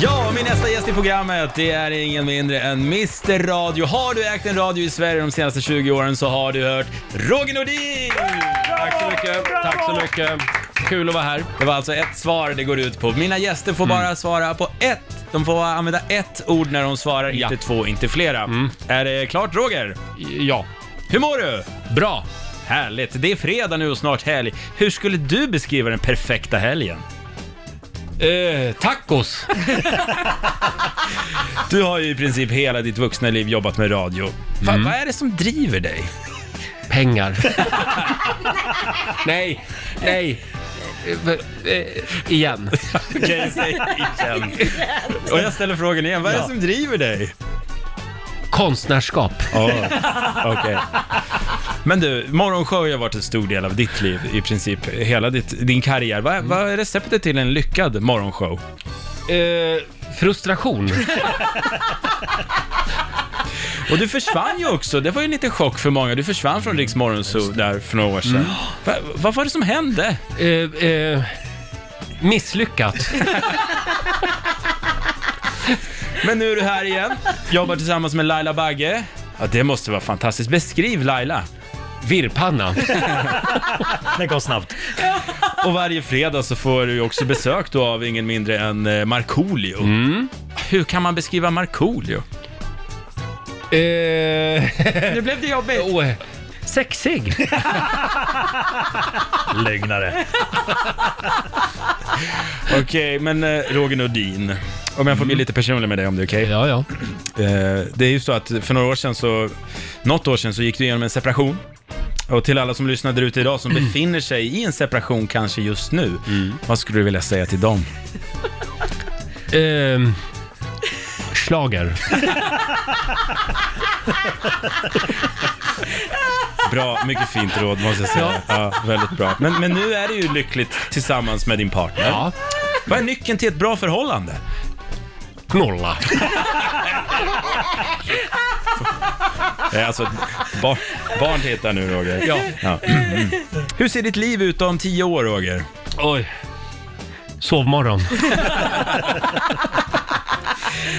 Ja, och min nästa gäst i programmet, det är ingen mindre än Mr Radio. Har du ägt en radio i Sverige de senaste 20 åren så har du hört Roger Nordin! Tack så mycket, tack så mycket. Kul att vara här. Det var alltså ett svar det går ut på. Mina gäster får bara svara på ett. De får bara använda ett ord när de svarar, Ja. inte två, inte flera. Är det klart Roger? Ja, Hur mår du? bra. Härligt, det är fredag nu och snart helg. Hur skulle du beskriva den perfekta helgen? Eh, tacos. Du har ju i princip hela ditt vuxna liv jobbat med radio. Va, Vad är det som driver dig? Pengar. nej, nej. Eh, eh, igen. Okej, säg igen. Och jag ställer frågan igen, vad är det som driver dig? Konstnärskap. Okej. Men du, morgonshow har ju varit en stor del av ditt liv i princip, hela ditt, din karriär. Vad, vad är receptet till en lyckad morgonshow? Eh, frustration. Och du försvann ju också, det var ju en liten chock för många. Du försvann från Riks Morgonzoo där för några år sedan. Va, vad var det som hände? Eh, eh, misslyckat. Men nu är du här igen, jobbar tillsammans med Laila Bagge. Ja, det måste vara fantastiskt. Beskriv Laila. Virrpanna. Det går snabbt. Och varje fredag så får du ju också besök då av ingen mindre än eh, Markoolio. Mm. Hur kan man beskriva Markoolio? Eh, Nu blev det jobbigt. oh, sexig. Lögnare. Okej, men eh, Roger Nordin. Om jag får bli lite personlig med dig om det är okej. Ja, Mm. ja. Eh, det är ju så att för några år sedan så, något år sedan så gick du igenom en separation. Och till alla som lyssnar där ute idag Mm. som befinner sig i en separation kanske just nu. Vad skulle du vilja säga till dem? Eh, Schlager. Bra, mycket fint råd måste jag säga. Ja, väldigt bra. Men, men nu är det ju lyckligt tillsammans med din partner. Ja. Vad är nyckeln till ett bra förhållande? Knulla. Eh, Alltså, bar, barn tittar nu Roger. Ja. Mm. Hur ser ditt liv ut om tio år Roger? Oj. Sovmorgon.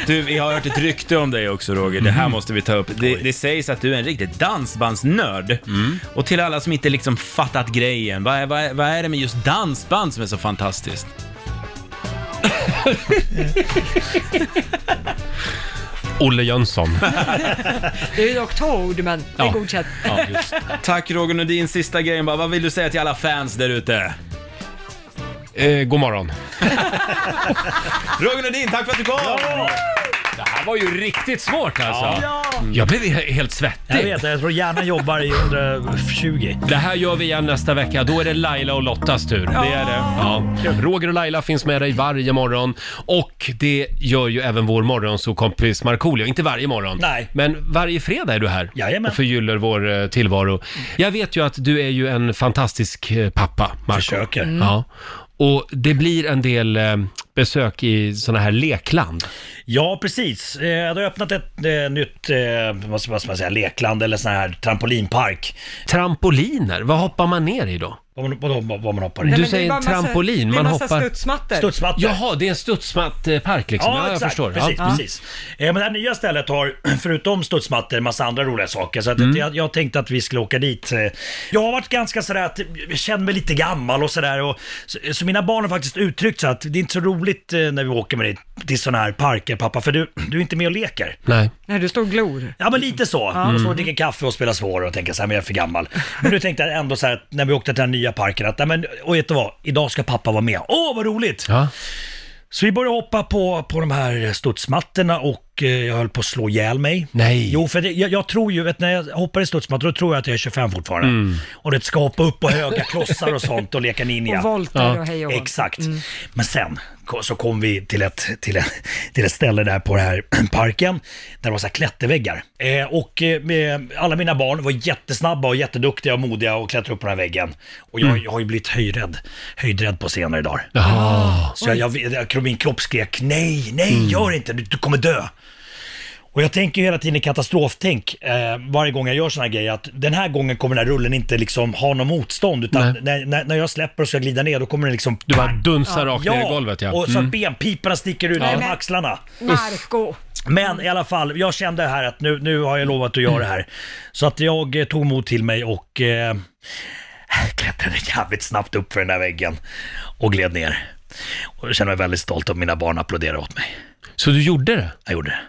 Du, vi har hört ett rykte om dig också Roger, det Mm. här måste vi ta upp. Det, det sägs att du är en riktig dansbandsnörd. Mm. Och till alla som inte liksom fattat grejen, vad är, vad, är, vad är det med just dansband som är så fantastiskt? Olle Jönsson. Det är ju dock två ord, men det är Ja. godkänt. Tack Roger Nordin, sista grejen bara, vad vill du säga till alla fans där ute? Eh, god morgon. Roger Nordin, tack för att du kom! Det här var ju riktigt svårt alltså. Jag blev he- helt Jag svettig. vet, jag tror hjärnan jobbar i 120. Det här gör vi igen nästa vecka. Då är det Laila och Lottas tur. Det är det. Ja. Roger och Laila finns med dig varje morgon och det gör ju även vår morgonsåkompis Markoolio. Inte varje morgon, Nej. men varje fredag är du här Jajamän. och förgyller vår eh, tillvaro. Jag vet ju att du är ju en fantastisk eh, pappa, Marco. Mm. Försöker. Mm. Ja. Och det blir en del eh, besök i såna här lekland. Ja, precis. Eh, Jag hade öppnat ett eh, nytt, eh, vad ska vad ska man säga, lekland eller sån här trampolinpark. Trampoliner, vad hoppar man ner i då? Vad man, vad, vad, vad man hoppar Du i. Nej, men det är säger bara en trampolin, man det är massa hoppar- studsmattor. Studsmattor. Jaha, det är en studsmattpark liksom. Ja, jag förstår. Precis, Ja. precis. Eh, Men det här nya stället har, förutom studsmattor, en massa andra roliga saker. Så att Mm. jag, jag tänkte att vi skulle åka dit. Eh, Jag har varit ganska sådär att jag känner mig lite gammal och sådär. och- Så, så mina barn har faktiskt uttryckt så att det är inte så roligt eh, när vi åker med dig till sådana här parker, pappa, för du, du är inte med och leker. Nej. Nej, du står och glor. Ja men lite så. Mm. Står och dricker kaffe och spelar svår och tänker så här, men jag är för gammal. Men nu tänkte jag ändå så här, att när vi åkte till den nya nya parken att, nej men, och vet du vad, idag ska pappa vara med. Åh, vad roligt! Ja. Så vi började hoppa på, på de här studsmattorna och eh, jag höll på att slå ihjäl mig. Nej. Jo, för det, jag, jag tror ju, vet, när jag hoppar i studsmattor då tror jag att jag är 25 fortfarande. Och det ska hoppa upp på höga klossar och sånt och leka ninja. Och volter och hej och hå. Mm. Exakt. Men sen ko- så kom vi till ett, till, ett, till ett ställe där på den här parken där det var så här klätterväggar. Eh, och eh, med, alla mina barn var jättesnabba och jätteduktiga och modiga och klättrade upp på den här väggen. Och jag, jag har ju blivit höjdrädd, höjdrädd på senare dagar. Jaha. Så jag, jag, jag, min kropp skrek nej, nej, Mm. gör inte, du, du kommer dö. Och jag tänker ju hela tiden i katastroftänk eh, varje gång jag gör såna här grejer att den här gången kommer den här rullen inte liksom ha något motstånd utan Nej. när, när, när jag släpper och ska glida ner då kommer den liksom... Du bara dunsar rakt ner i golvet Ah, ja. och så Mm. att benpiporna sticker ut genom axlarna. Narko. Men i alla fall, jag kände här att nu, nu har jag lovat att göra det här. Så att jag eh, tog mod till mig och eh, klättrade jävligt snabbt upp för den där väggen och gled ner. Och jag kände mig väldigt stolt och mina barn applåderade åt mig. Så du gjorde det? Jag gjorde det.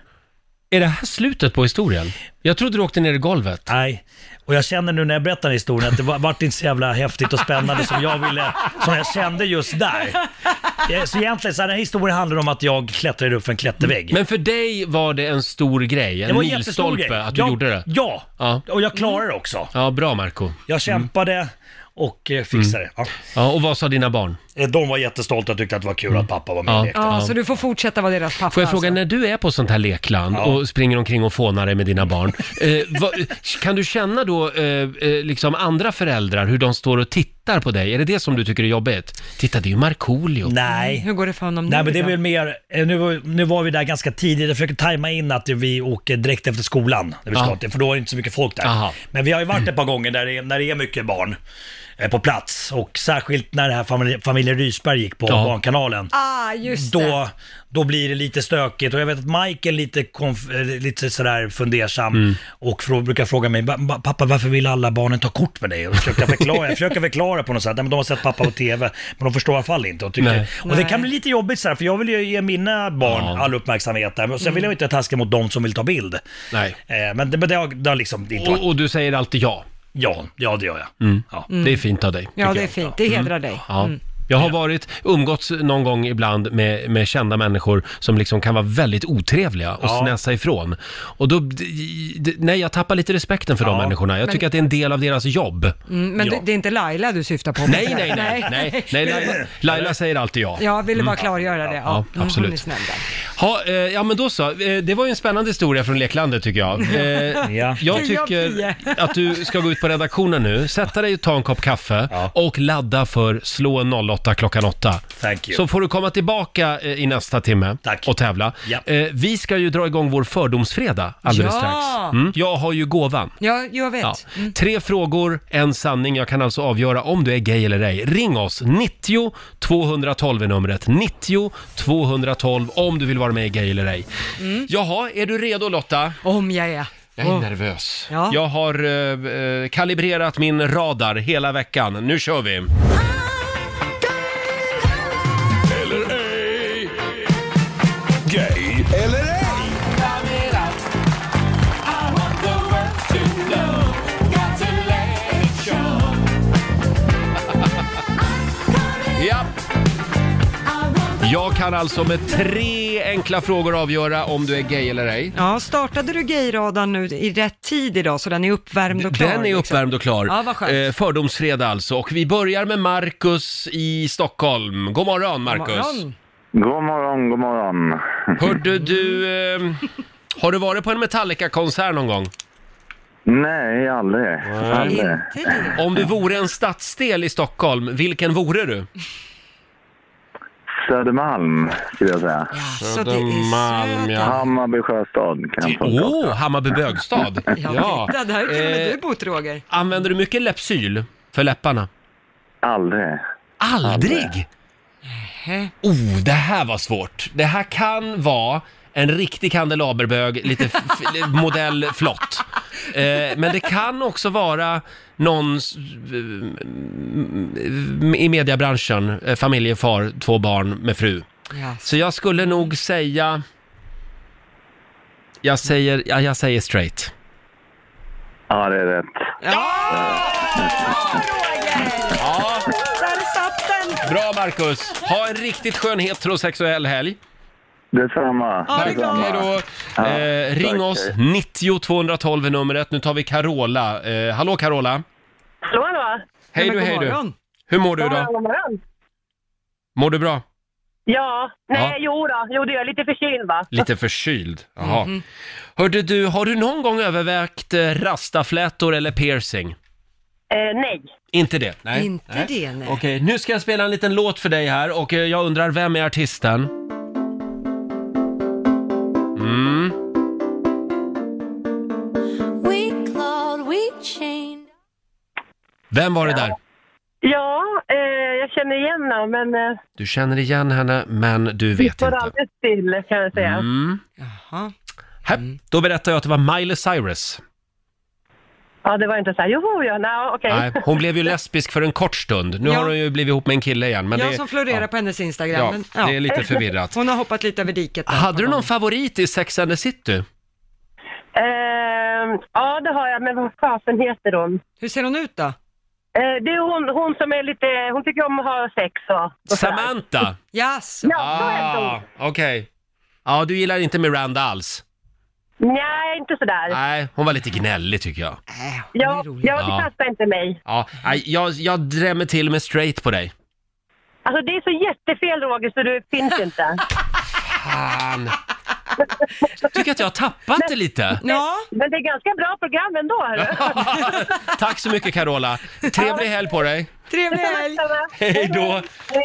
Är det här slutet på historien? Jag trodde du åkte ner i golvet. Nej, och jag känner nu när jag berättar den här historien att det var, vart inte så jävla häftigt och spännande som jag ville, som jag kände just där. Eh, Så egentligen, så här, den här historien handlar om att jag klättrade upp för en klättervägg. Men för dig var det en stor grej, en det var en jättestor grej. milstolpe att du jag, gjorde det. Ja, Ja. och jag klarade det också. Ja, bra Marco. Jag kämpade och eh, fixade det. Ja, och vad sa dina barn? Ja. Eh, De var jättestolta och tyckte att det var kul att pappa var Mm. med Ja. och lekte. Ja, så du får fortsätta vara deras pappa. Får jag fråga, alltså. när du är på sånt här lekland och springer omkring och fånar dig med dina barn, eh, vad, kan du känna då eh, eh, liksom andra föräldrar, hur de står och tittar på dig? Är det det som du tycker är jobbigt? Titta, det är ju Markoolio. Nej. Hur går det för honom Nej nu men det är då? väl mer, eh, nu, var- nu var vi där ganska tidigt, jag försöker tajma in att vi åker direkt efter skolan, när vi Ja. ska till, för då är det inte så mycket folk där. Aha. Mm. Men vi har ju varit ett par gånger där det, är- när det är mycket barn eh, på plats och särskilt när det här familj, familjen Rysberg gick på Ja. Barnkanalen. Ah, just det. Då, då blir det lite stökigt och jag vet att Mike är lite, konf- eh, lite sådär fundersam Mm. och frå- brukar fråga mig, "Ba- ba- pappa varför vill alla barnen ta kort med dig? Och försöka förklara, jag försöker förklara på något sätt, Nej, men de har sett pappa på TV men de förstår i alla fall inte. Och, tycker, Nej. och det Nej. kan bli lite jobbigt sådär, för jag vill ju ge mina barn Ja. all uppmärksamhet där, men sen Mm. vill jag ju inte taska mot de som vill ta bild. Nej. Oh. Eh, Men det, men det, har, det har liksom det har inte varit, Och, och du säger alltid ja. ja, ja det gör jag. Mm. Ja. Mm. Det är fint av dig. Ja, tycker det är jag. fint. Det hedrar dig. Mm. Ja. Jag har varit, umgåtts någon gång ibland med, med kända människor som liksom kan vara väldigt otrevliga och Ja. snäsa ifrån. Och då, d- d- nej jag tappar lite respekten för de Ja. människorna. Jag tycker att det är en del av deras jobb. Mm, men Ja. det, det är inte Laila du syftar på? Nej, nej, nej, nej, nej. Laila, Laila säger alltid ja. Jag ville bara klargöra det. Ja, Ja, Mm, Hon är absolut. snäll där. Ha, eh, ja men då så, eh, det var ju en spännande historia från leklandet tycker jag. Eh, Ja. Jag Tio av tycker tio. att du ska gå ut på redaktionen nu, sätta dig och ta en kopp kaffe Ja. och ladda för slå en 08 klockan 8. Thank you. Så får du komma tillbaka eh, i nästa timme Tack. och tävla. Ja. Eh, Vi ska ju dra igång vår fördomsfredag alldeles Ja. strax. Mm. Jag har ju gåvan. Ja, jag vet. Ja. Tre frågor, en sanning. Jag kan alltså avgöra om du är gay eller ej. Ring oss! 90 212 är numret. 90 212 om du vill vara med i Gay eller ej. Jaha, är du redo Lotta? Om jag är. Jag är nervös. Ja. Jag har eh, eh, kalibrerat min radar hela veckan. Nu kör vi! Eller ej. Gay eller ej. Ja. Jag kan alltså med tre enkla frågor avgöra om du är gay eller ej. Ja, startade du gayradan nu i rätt tid idag så den är uppvärmd och klar? liksom? Den är uppvärmd och klar. Ja, vad skönt. Eh, Fördomsfredag alltså. Och vi börjar med Marcus i Stockholm. God morgon liksom. Marcus! Morgon. God morgon, god morgon. Hörde du... Eh, har du varit på en Metallica-konsert någon gång? Nej, aldrig. aldrig. Inte det. Om du vore en stadsdel i Stockholm, vilken vore du? Södermalm, skulle jag säga. Så det är Södermalm, söt. ja. Hammarby sjöstad kan jag Åh, få. Hammarby bögstad! Ja, titta, där har till och med Eh, du bott Roger. Använder du mycket Lypsyl för läpparna? Aldrig. Aldrig? Hä? Oh, det här var svårt. Det här kan vara en riktig kandelaberbög, lite f- f- modell flott. Eh, men det kan också vara någon s- m- i mediebranschen, eh, familjefar, två barn med fru. Ja. Så jag skulle nog säga... Jag säger, ja, jag säger straight. Ja, det är rätt. Ja! Bra Marcus! Ha en riktigt skön heterosexuell helg. Detsamma. Tack, Hej då! Eh, ring tack, oss, 90 212 är numret. Nu tar vi Carola. Eh, hallå Carola! Hallå, hallå. Hej du, Men god hej du! morgon. Hur mår du God då? morgon, god morgon. Mår du bra? Ja, nej, Ja. jo då. Jo, du är lite förkyld va? Lite förkyld? Jaha. Mhm. Hörde du, har du någon gång övervägt eh, rastaflätor eller piercing? Eh, nej. Inte det? Nej. Inte det, nej. Okej, nu ska jag spela en liten låt för dig här och eh, jag undrar, vem är artisten? Mm. Vem var det där? Ja, eh, jag känner igen honom, men eh, Du känner igen henne, men du vet står inte. alldeles still kan jag säga. Mm. Jaha. Här, då berättar jag att det var Miley Cyrus. Ja, det var inte så här, joho, ja, nej, okej. Nej, hon blev ju lesbisk för en kort stund. Nu Ja. har hon ju blivit ihop med en kille igen. Men jag det, som florerar på hennes Instagram. ja, men, ja. ja, det är lite förvirrat. Hon har hoppat lite över diket. där på Hade du dem. någon favorit i Sex and the City? Eh, ja, det har jag, men vad fasen heter hon? Hur ser hon ut då? Eh, det är hon, hon som är lite, hon tycker om att ha sex och, och sådär. Samantha! Jaså? Ja, så heter Ah, hon. okej. Ja, du gillar inte Miranda alls? Nej, inte sådär. Nej, hon var lite gnällig tycker jag. Äh, hon Ja, är rolig. ja, Ja. det passar inte mig. Ja, nej, jag, jag drämmer till med straight på dig. Alltså det är så jättefel Roger så du finns inte. Fan! Jag tycker att jag har tappat det lite. Ja, Men det är ganska bra program ändå. hörru. Tack så mycket Carola. Trevlig helg på dig. trevlig helg. Hej då!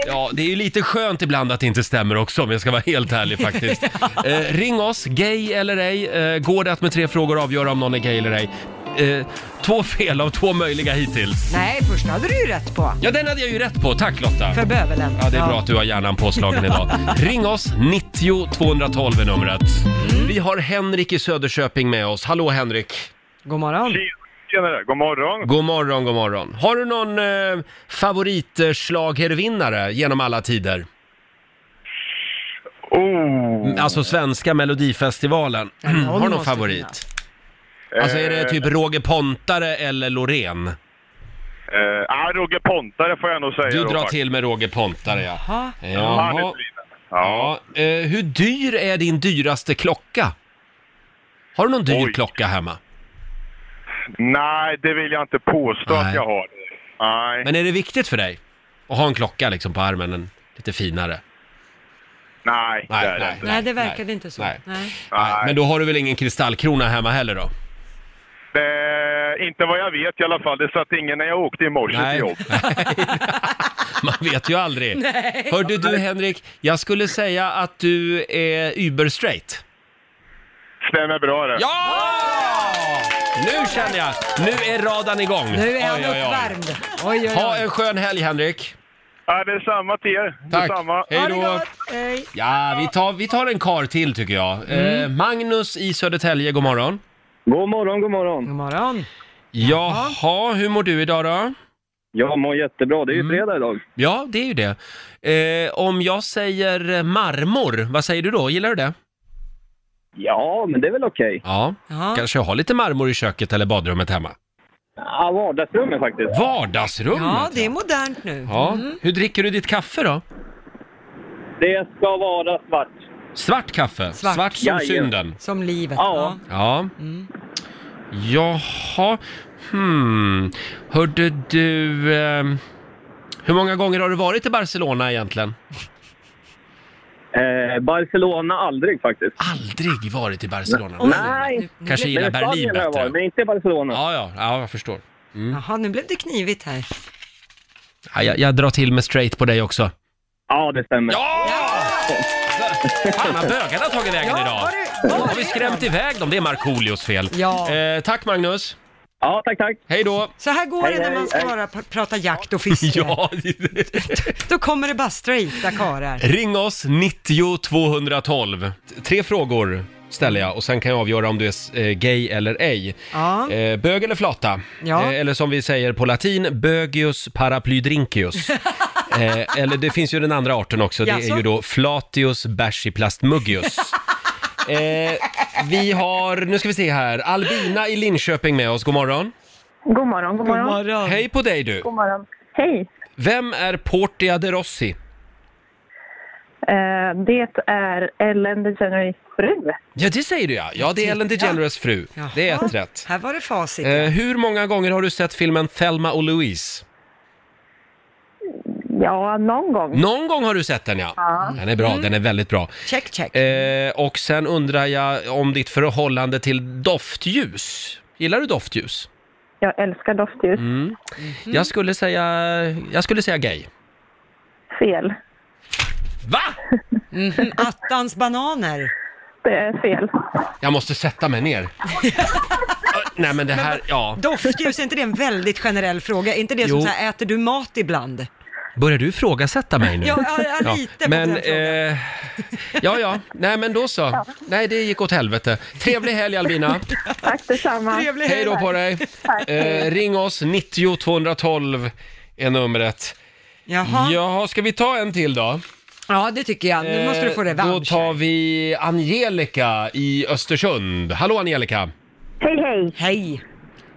Ja, det är ju lite skönt ibland att det inte stämmer också om jag ska vara helt ärlig faktiskt. Eh, ring oss, gay eller ej. Eh, går det att med tre frågor avgöra om någon är gay eller ej? Eh, två fel av två möjliga hittills. Nej, första hade du ju rätt på. Ja, den hade jag ju rätt på. Tack Lotta! För bövelen. Ja, det är bra att du har hjärnan påslagen idag. Ring oss, 90 212 är numret. Vi har Henrik i Söderköping med oss. Hallå Henrik! God morgon. Tjenare, god morgon. God morgon, god morgon. Har du någon eh, favoritschlagervinnare genom alla tider? Oh. Alltså svenska melodifestivalen. har du någon måste favorit? Alltså är det typ Roger Pontare eller Loreen? Eh, eh, Roger Pontare får jag nog säga Du då, drar faktiskt. till med Roger Pontare ja. Jaha. Han är Jaha. driven. Ja. Ja. Eh, hur dyr är din dyraste klocka? Har du någon dyr Oj. klocka hemma? Nej, det vill jag inte påstå Nej. att jag har. Nej, Men är det viktigt för dig? Att ha en klocka liksom på armen, en lite finare? nej, Nej, det är det nej. inte. Nej, det verkade nej, inte så. nej. Nej. Nej. Men då har du väl ingen kristallkrona hemma heller då? Eh, inte vad jag vet i alla fall. Det satt ingen när jag åkte i morse Nej. till jobb. Man vet ju aldrig. Hörde du Henrik, jag skulle säga att du är überstraight. Stämmer bra det. Ja! Nu känner jag, nu är radan igång. Nu är han Oj, oj, oj. uppvärmd. Oj, oj, oj. Ha en skön helg Henrik. Ja, det är samma till er. Tack. Detsamma. Hej Ha det då. gott. Hej. Ja, vi tar, vi tar en kar till tycker jag. Eh, Mm. Magnus i Södertälje, god morgon. God morgon, god God morgon. morgon. Jaha, hur mår du idag då? Jag mår jättebra. Det är ju Mm. fredag idag. Ja, det är ju det. Eh, om jag säger eh, marmor, vad säger du då? Gillar du det? Ja, men det är väl okej. Ja, Ja. kanske ha lite marmor i köket eller badrummet hemma. Ja, vardagsrummet faktiskt. Vardagsrummet! ja, Mm. det är modernt nu. Ja. Hur dricker du ditt kaffe då? Det ska vara svart. Svart kaffe? Svart, Svart. som Jajamän. synden? Som livet. Ja. Ja. Jaha. Hmm. Hörde du... Eh, hur många gånger har du varit i Barcelona egentligen? Eh, Barcelona aldrig faktiskt. Aldrig varit i Barcelona. Nej, Kanske men gillar i Berlin Spanien har jag bättre. varit, men inte i Barcelona. Ja, ja, ja, jag förstår. Jaha, nu blev det knivigt här. Ja, jag, jag drar till med straight på dig också. Ja, det stämmer. Ja! Fan, vad bögarna har tagit vägen idag. var det- var Då har det vi skrämt iväg dem. Det är Markoolios fel. Ja. Eh, tack Magnus. Ja, tack, tack. Hej då. Så här går det när man ska bara pr- prata jakt och fiske. Ja, Då kommer det bara straighta karlar. ring oss 90 212. Tre frågor ställer jag och sen kan jag avgöra om du är s- eh, gay eller ej. Ja. Eh, bög eller flata? Ja. Eh, eller som vi säger på latin, bögius paraplydrinkius. eh, eller det finns ju den andra arten också, det är Jaså? ju då flatius bärsiplastmuggius. eh, vi har, nu ska vi se här, Albina i Linköping med oss, god morgon. God morgon, god morgon. morgon. Hej på dig du! God morgon. Hej. Vem är Portia de Rossi? Eh, det är Ellen DeGeneres fru. Ja, det säger du ja. Ja, det är Ellen DeGeneres fru. Det är ett rätt. Här var det facit. Eh, hur många gånger har du sett filmen Thelma och Louise? Ja, någon Mm. gång. Någon gång har du sett den ja. Ja. Den är bra, Mm. den är väldigt bra. Check, check. Eh, och sen undrar jag om ditt förhållande till doftljus. Gillar du doftljus? Jag älskar doftljus. Mm. Jag skulle säga, jag skulle säga gay. Fel. Va? Mhm, attans bananer. Det är fel. Jag måste sätta mig ner. Nej men det här, ja. Doftljus, är inte det en väldigt generell fråga? Är inte det som Jo. så här, äter du mat ibland? Börjar du ifrågasätta mig nu? Ja, ja, ja, lite på Men, den eh, ja, ja. Nej, men då så. Nej, det gick åt helvete. Trevlig helg, Albina. Tack detsamma. Trevlig helg. Hej då på dig. Eh, ring oss, 90 212 är numret. Jaha. Jaha, ska vi ta en till då? Ja, det tycker jag. Nu måste du få Eh, Då revansch. tar vi Angelica i Östersund. Hallå Angelica! Hej, hej! Hej!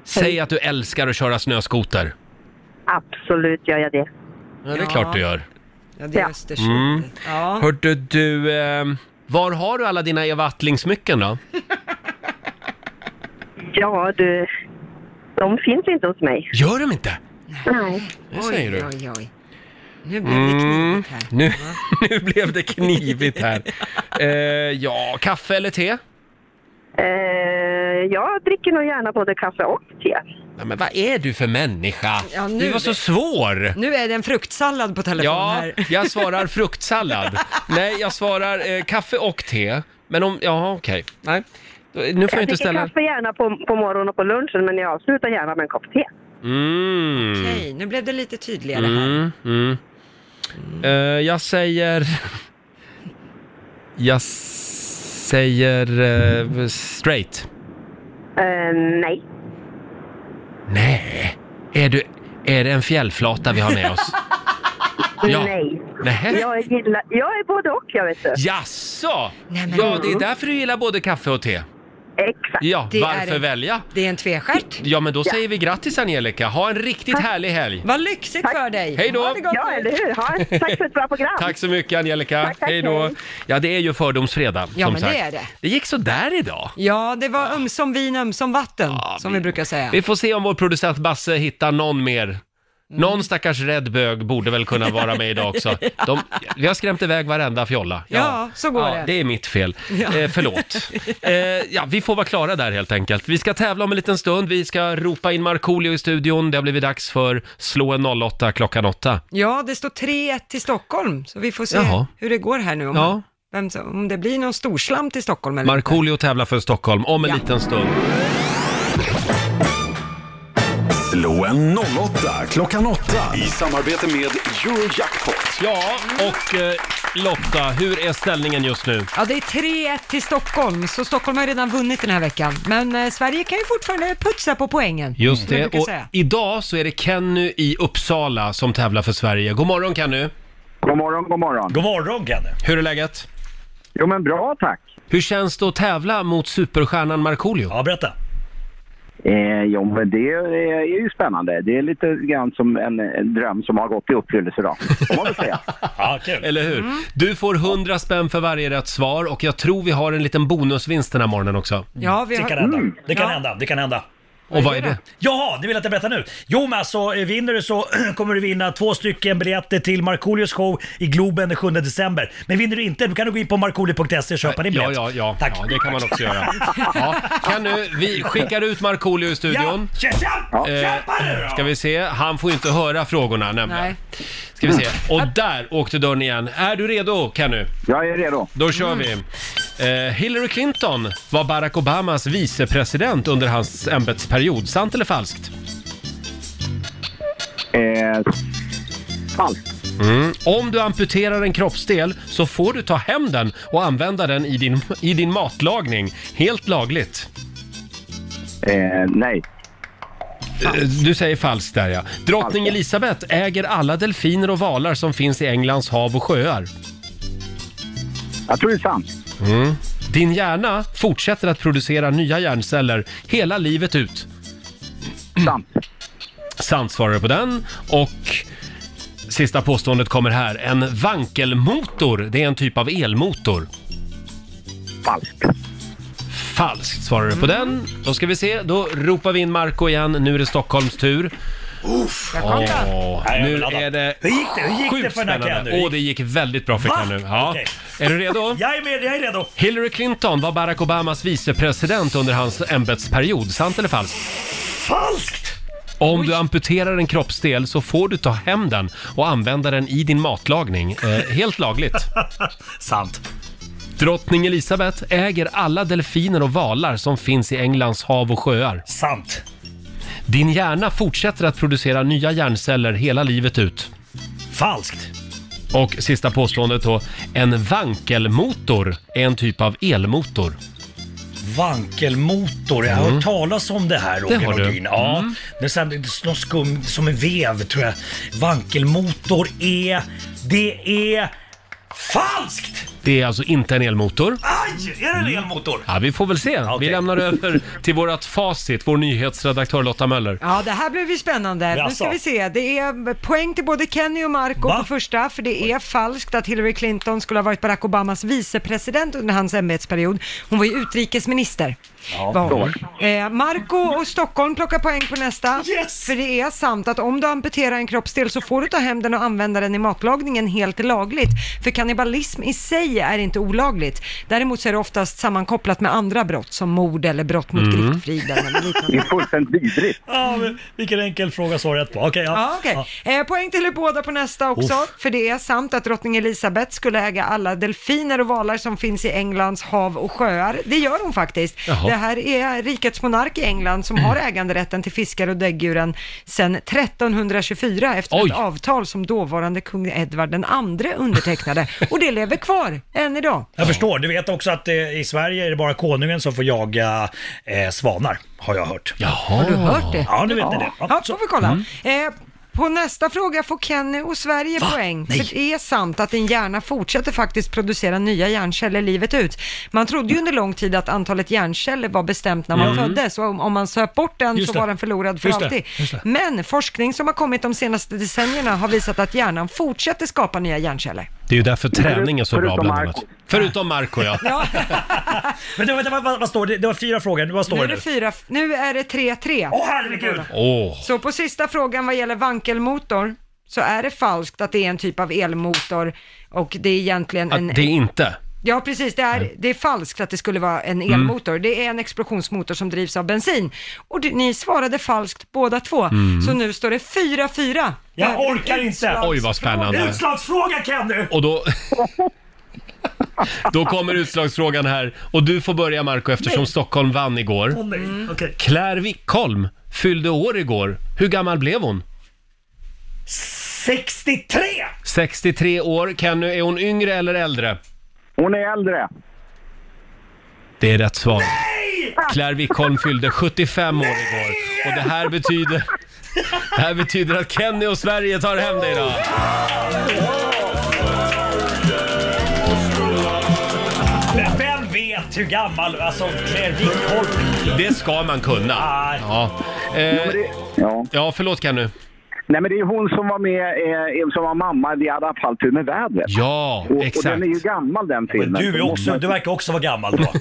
Säg att du älskar att köra snöskoter. Absolut gör jag det. Ja, det är klart du gör. Ja, det är Östersund. Mm. Ja. Hörde du, eh, var har du alla dina Eva Attling-smycken då? Ja, du. De finns inte hos mig. Gör de inte? Nej. Det säger du. Oj, oj. Nu blev det Mm, knivigt här. nu, nu blev det knivigt här. Eh, ja, kaffe eller te? Eh, jag dricker nog gärna både kaffe och te. Nej, men vad är du för människa? Ja, nu- du var så svår! Nu är det en fruktsallad på telefon Ja, här. jag svarar fruktsallad. Nej, jag svarar eh, kaffe och te. Men om, ja okej. Nej, Då- nu får jag inte dricker ställa... kaffe gärna på, på morgonen och på lunchen, men jag avslutar gärna med en kopp te. Mm. Okej, nu blev det lite tydligare här. Mm, mm. Eh, jag säger... Jag s- säger eh, straight. Eh, nej. Nej, är, du, är det en fjällflata vi har med oss? Ja. Nej. Nähä. Jag, gillar, jag är både och, jag vet du. Jaså? Nej, men- Ja, det är därför du gillar både kaffe och te. Exakt. Ja, Det är varför en- välja? Det är en tvestjärt. Ja, men då säger vi grattis Angelica. Ha en riktigt härlig helg. Vad lyxigt för dig! Hej då. Ha det gott. Ja, eller hur? Ha, tack för ett bra program. Tack så mycket Angelica. tack, Hej då. hej. Ja, det är ju fördomsfredag Ja, som men det sagt. är det. Det gick så där idag. Ja, det var ömsom vin, ömsom vatten, som vi brukar säga. Vi får se om vår producent Basse hittar någon mer. Mm. Någon stackars rädd bög borde väl kunna vara med idag också. De, vi har skrämt iväg varenda fjolla. Ja, så går det. Det är mitt fel. Ja. Eh, förlåt. Eh, ja, vi får vara klara där helt enkelt. Vi ska tävla om en liten stund. Vi ska ropa in Markoolio i studion. Det har blivit dags för Slå en 08 klockan 8. Ja, det står 3-1 till Stockholm, så vi får se Jaha. hur det går här nu. Om, Ja. vem, som- om det blir någon storslam till Stockholm eller Markoolio tävlar för Stockholm om en Ja. liten stund. Slå en 08 klockan 8 i samarbete med Eurojackpot. Ja, och eh, Lotta, hur är ställningen just nu? Ja, det är 3-1 till Stockholm, så Stockholm har ju redan vunnit den här veckan. Men eh, Sverige kan ju fortfarande putsa på poängen. Just som Mm. jag det, brukar och säga. idag så är det Kenny i Uppsala som tävlar för Sverige. God morgon Kenny! God morgon, god morgon. God morgon Kenny! Hur är läget? Jo men bra tack. Hur känns det att tävla mot superstjärnan Markoolio? Ja, berätta. Eh, jo men det är, är ju spännande. Det är lite grann som en, en dröm som har gått i uppfyllelse idag. får man väl säga. Ja, kul. Eller hur? Mm. Du får 100 spänn för varje rätt svar och jag tror vi har en liten bonusvinst den här morgonen också. Ja, vi Det har... kan hända. Det kan Ja. hända. Det kan hända. Och vad är det? Jaha, det vill jag att jag berättar nu. Jo men alltså, eh, vinner du så kommer du vinna två stycken biljetter till Markoolios show i Globen den 7 december. Men vinner du inte, då kan du gå in på markoolio.se och köpa din Ja, biljett. ja, ja, Tack. ja, det kan man också göra. Ja. Kenny, vi skickar ut Markoolio i studion. Ja, tja, tja! Kämpa nu då! Eh, Ska vi se, han får ju inte höra frågorna nämligen. Nej. Ska vi se, och där åkte dörren igen. Är du redo Kenny? Jag är redo. Då kör vi. Eh, Hillary Clinton var Barack Obamas vicepresident under hans ämbetsperiod. Sant eller falskt? Eh, falskt. Mm. Om du amputerar en kroppsdel så får du ta hem den och använda den i din, i din matlagning. Helt lagligt. Eh, nej. Eh, Du säger falskt där ja. Drottning Elisabeth äger alla delfiner och valar som finns i Englands hav och sjöar. Jag tror det är sant. Mm. Din hjärna fortsätter att producera nya hjärnceller hela livet ut. Sant. Sant svarar du på den. Och Sista påståendet kommer här. En vankelmotor, det är en typ av elmotor. Falskt. Falskt svarar du på den. Då ska vi se, då ropar vi in Marco igen. Nu är det Stockholms tur. Uff, jag kom då. Åh, Nej, jag nu vill ladda. är det Hur gick det? Hur gick sjukt det för den här spännande. Kenny? Åh, det gick väldigt bra för Va? Kenny. Ja. Okej. Är du redo? Jag är med, jag är redo. Hillary Clinton var Barack Obamas vicepresident under hans ämbetsperiod. Sant eller falskt? Falskt! Om du amputerar en kroppsdel så får du ta hem den och använda den i din matlagning. Eh, helt lagligt. Sant. Drottning Elisabeth äger alla delfiner och valar som finns i Englands hav och sjöar. Sant. Din hjärna fortsätter att producera nya hjärnceller hela livet ut. Falskt. Och sista påståendet då. En vankelmotor är en typ av elmotor. Vankelmotor, jag har Mm. hört talas om det här Det Roger har du. Nordin. Ja, Mm. Det är så här, det är någon skum som en vev tror jag. Vankelmotor är... Det är... Falskt! Det är alltså inte en elmotor. Aj! Är Mm. det en elmotor? Ja, vi får väl se. Vi lämnar över till vårt facit, vår nyhetsredaktör Lotta Möller. Ja, det här blev ju spännande. Nu Jaså? ska vi se. Det är poäng till både Kenny och Marco Va? på första, för det är falskt att Hillary Clinton skulle ha varit Barack Obamas vicepresident under hans ämbetsperiod. Hon var ju utrikesminister. Ja, Var hon. bra. Eh, Marco och Stockholm plockar poäng på nästa. För det är sant att om du amputerar en kroppsdel så får du ta hem den och använda den i matlagningen helt lagligt. För kannibalism i sig är inte olagligt. Däremot så är det oftast sammankopplat med andra brott som mord eller brott mot Mm. griftfriden eller liknande. Det är fullständigt vidrigt. Ja, men vilken enkel fråga svarade jag på. Okej, ja. Ja, okej. eh, poäng till er båda på nästa också, Uff. för det är sant att drottning Elisabeth skulle äga alla delfiner och valar som finns i Englands hav och sjöar. Det gör hon faktiskt. Jaha. Det här är rikets monark i England som har äganderätten till fiskar och däggdjuren sedan 1324 efter Oj. ett avtal som dåvarande kung Edvard II undertecknade. Och det lever kvar än idag. Jag förstår. Du vet också att eh, i Sverige är det bara konungen som får jaga eh, svanar, har jag hört. Jaha. Har du hört det? Ja, nu vet ni det. Ja, får vi kolla. Mm. Eh, på nästa fråga får Kenny och Sverige poäng. För det är sant att din hjärna fortsätter faktiskt producera nya hjärnceller livet ut. Man trodde ju under lång tid att antalet hjärnceller var bestämt när man Mm. föddes så om, om man söp bort den Just så det. var den förlorad för Just det. alltid. Just det. Men forskning som har kommit de senaste decennierna har visat att hjärnan fortsätter skapa nya hjärnceller. Det är ju därför träning är så bra Förutom bland Marco. annat. Förutom Marco ja. Men vänta, vad, vad, vad står det? Det var fyra frågor. Vad står Nu är det det nu? fyra, nu är det 3-3. Åh herregud! Åh. Så på sista frågan vad gäller vankelmotor så är det falskt att det är en typ av elmotor och det är egentligen en... Att det är inte. Ja precis, det är, det är falskt att det skulle vara en Mm. elmotor. Det är en explosionsmotor som drivs av bensin. Och det, ni svarade falskt båda två. Mm. Så nu står det 4-4. Jag orkar inte! Oj, vad spännande. Utslagsfråga Kenny! Och då... Då kommer utslagsfrågan här och du får börja Marco eftersom Nej. Stockholm vann igår. Åh nej, Mm. okej. Claire Wickholm fyllde år igår. Hur gammal blev hon? 63! 63 år. Kenny, är hon yngre eller äldre? Hon är äldre. Det är rätt svar. Claire Wickholm fyllde 75 år igår. Och det här betyder... Det här betyder att Kenny och Sverige tar hem det idag. Men vem vet hur gammal, alltså Claire Wickholm? Det ska man kunna. Ja, eh, ja. ja förlåt Kenny. Nej men det är hon som var med, eh, som var mamma i Vi hade haft all tur med vädret. Ja, och, exakt. Och den är ju gammal den filmen. Du, är också, du verkar också vara gammal då.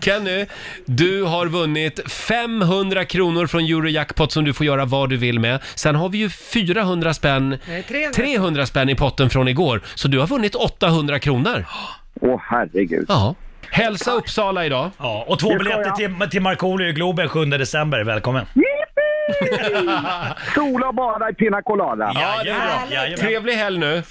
Kenny, du har vunnit 500 kronor från Eurojackpot som du får göra vad du vill med. Sen har vi ju 400 spänn, Nej, 300. 300 spänn i potten från igår. Så du har vunnit 800 kronor. Åh herregud. Ja. Hälsa Uppsala idag. Ja, och två biljetter till, till Markoolio i Globen 7 december. Välkommen! Sola och bada i Pina Colada. Ja, det är bra. Trevlig helg nu.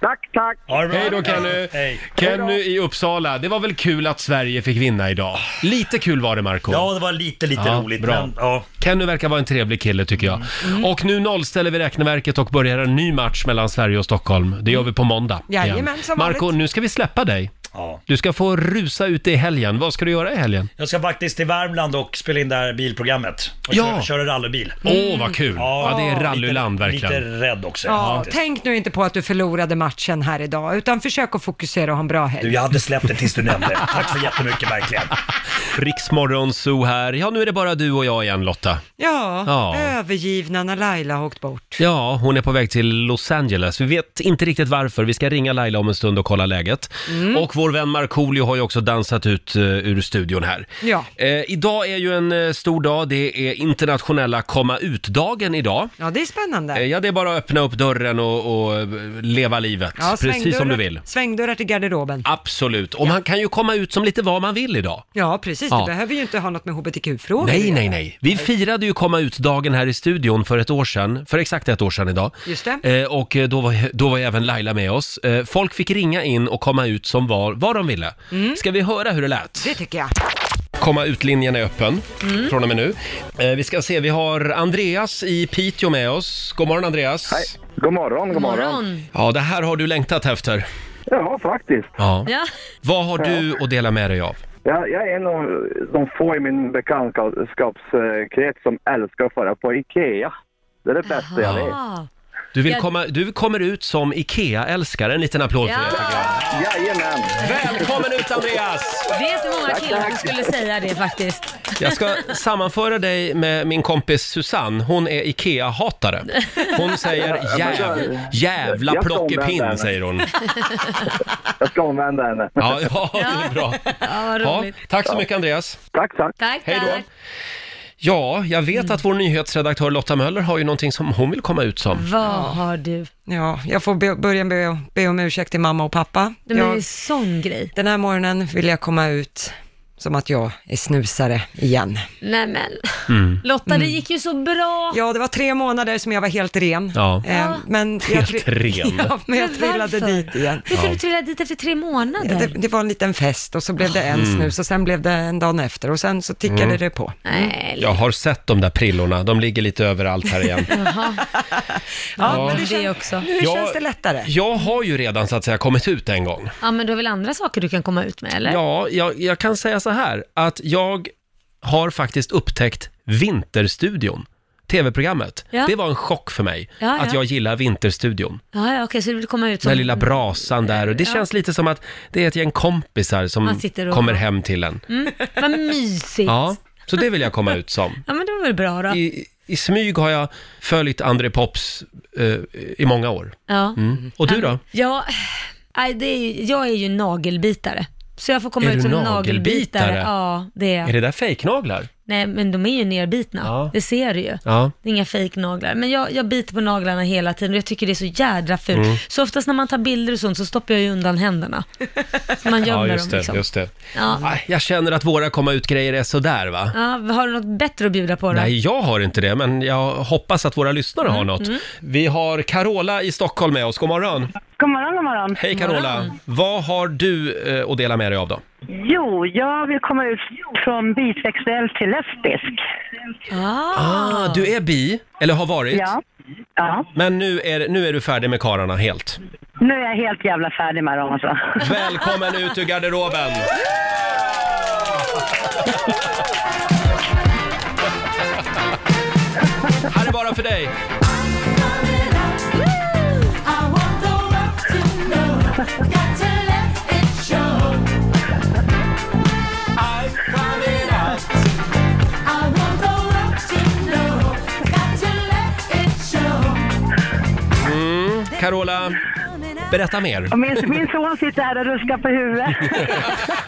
Tack, tack. Hej då Kenny. Kenny i Uppsala. Det var väl kul att Sverige fick vinna idag? Lite kul var det Marco Ja, det var lite, lite Ja, roligt. Bra. Men, ja. Kenny verkar vara en trevlig kille tycker jag. Mm. Och nu nollställer vi räkneverket och börjar en ny match mellan Sverige och Stockholm. Det gör vi på måndag. igen. Jajamän, som Marco, vanligt. nu ska vi släppa dig. Ja. Du ska få rusa ut i helgen. Vad ska du göra i helgen? Jag ska faktiskt till Värmland och spela in det här bilprogrammet. Och Ja. köra, köra rallybil. Åh, vad kul. Ja, det är rallyland, lite, verkligen. Lite rädd också. Ja, faktiskt. tänk nu inte på att du förlorade matchen här idag, utan försök att fokusera och ha en bra helg. Du, jag hade släppt det tills du nämnde det. Tack så jättemycket verkligen. Riksmorgon Zoo här. Ja, nu är det bara du och jag igen Lotta. Ja, Ja. övergivna när Laila har åkt bort. Ja, hon är på väg till Los Angeles. Vi vet inte riktigt varför. Vi ska ringa Laila om en stund och kolla läget. Mm. Och vår vän Markoolio har ju också dansat ut eh, ur studion här. Ja. Eh, idag är ju en eh, stor dag. Det är internationella komma ut-dagen idag. Ja, det är spännande. Eh, ja, det är bara att öppna upp dörren och, och eh, leva livet. Ja, precis som svängdörrar- du vill. Svängdörrar till garderoben. Absolut. Och man kan ju komma ut som lite vad man vill idag. Ja, precis. Ja. Det behöver ju inte ha något med hbtq-frågor att Nej, göra. nej, nej. Vi firade ju komma ut-dagen här i studion för ett år sedan, för exakt ett år sedan idag. Just det. Eh, och eh, då var, då var ju även Laila med oss. Eh, folk fick ringa in och komma ut som var vad de ville. Ska vi höra hur det lät? Mm. Det tycker jag. Komma ut-linjen är öppen Mm. från och med nu. Eh, vi ska se, vi har Andreas i Piteå med oss. God morgon Andreas. Hej. God morgon, god morgon. Ja, det här har du längtat efter. Ja, faktiskt. Ja. Ja. Vad har du att dela med dig av? Jag, jag är en av de få i min bekantskapskrets som älskar att fara på Ikea. Det är det bästa jag vet. Ah. Du, vill Jag- komma, du kommer ut som IKEA-älskare. En liten applåd för det. tycker jag. Jajamän! Välkommen ut Andreas! Vet hur många Tack, killar som tack. skulle säga det faktiskt. Jag ska sammanföra dig med min kompis Susanne. Hon är IKEA-hatare. Hon säger jäv, jävla Jag ska omvända henne. plockepinn, säger hon. Jag ska omvända henne. Ja, ja, det är bra. Ja, vad Ja, roligt. tack så mycket Andreas. Tack, tack. Tack, Hej då. tack. Ja, jag vet att vår nyhetsredaktör Lotta Möller har ju någonting som hon vill komma ut som. Vad har du? Ja, jag får be, börja med att be om ursäkt till mamma och pappa. Det är ju Jag, en sån grej. den här morgonen vill jag komma ut som att jag är snusare igen. Nej men, Mm. Lotta det gick ju så bra. Ja, det var tre månader som jag var helt ren. Ja. Eh, men jag, Helt tri- ren. Ja, men jag Men trillade varför? dit igen. Hur kan du trilla dit efter tre månader? Det, det var en liten fest och så blev det en Mm. snus och sen blev det en dag efter och sen så tickade Mm. det på. Nej. Jag har sett de där prillorna, de ligger lite överallt här igen. Jaha. Ja, men det det, också. Nu Ja. känns det lättare. Jag har ju redan så att säga kommit ut en gång. Ja, men du har väl andra saker du kan komma ut med, eller? Ja, jag, jag kan säga så här att jag har faktiskt upptäckt Vinterstudion, tv-programmet. Ja. Det var en chock för mig Ja, att ja. jag gillar Vinterstudion. Ja, ja okej, så du vill komma ut Den som... här lilla brasan där och det Ja. känns lite som att det är ett gäng kompisar som Man sitter och- kommer hem till en. Mm, vad mysigt. Ja, Ja. så det vill jag komma ut som. men det var väl bra då. I, I smyg har jag följt André Pops eh, i många år. Ja. Mm. Och du då? Ja, nej, det är, ju- jag är ju nagelbitare. Så jag får komma Är ut du som nagelbitare? nagelbitare. Ja, det är jag. Är det där fejknaglar? Nej, men de är ju nerbitna. Ja. Det ser du ju. Ja. Det är inga fejknaglar. Men jag, jag biter på naglarna hela tiden och jag tycker det är så jädra fult. Mm. Så oftast när man tar bilder och sånt så stoppar jag ju undan händerna. Så man gömmer Ja, just dem det, liksom. just det. Ja. Nej, Jag känner att våra komma ut-grejer är sådär va? Ja, har du något bättre att bjuda på då? Nej, jag har inte det, men jag hoppas att våra lyssnare har något. mm. Vi har Carola i Stockholm med oss. God morgon! God morgon, god morgon. Hej Carola! Vad har du eh, att dela med dig av då? Jo, jag vill komma ut från bisexuell till lesbisk. Ah, du är bi, eller har varit. Ja. ja. Men nu är, nu är du färdig med kararna helt. Nu är jag helt jävla färdig med dem alltså. Välkommen ut ur garderoben! Här är bara för dig! Mm, Carola, berätta mer. Och min, min son sitter här och ruskar på huvudet.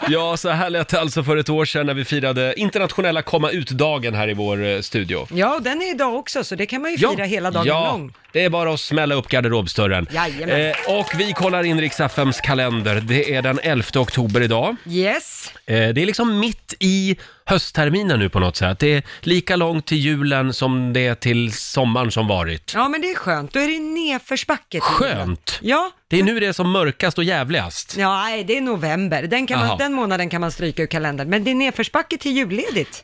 Ja, så här lät det alltså för ett år sedan när vi firade internationella komma ut-dagen här i vår eh, studio. Ja, och den är idag också så det kan man ju fira hela dagen ja, lång. det är bara att smälla upp garderobsdörren. Eh, Jajamän. och vi kollar in riks FMs kalender. Det är den 11 oktober idag. Yes. Eh, det är liksom mitt i höstterminen nu på något sätt. Det är lika långt till julen som det är till sommaren som varit. Ja, men det är skönt. Då är det nedförsbacke. till julen. Skönt! Ja. Det är nu det är som mörkast och jävligast. Ja, nej, det är november. Den, kan Jaha. man, den månaden kan man stryka ur kalendern. Men det är nedförsbacke till julledigt.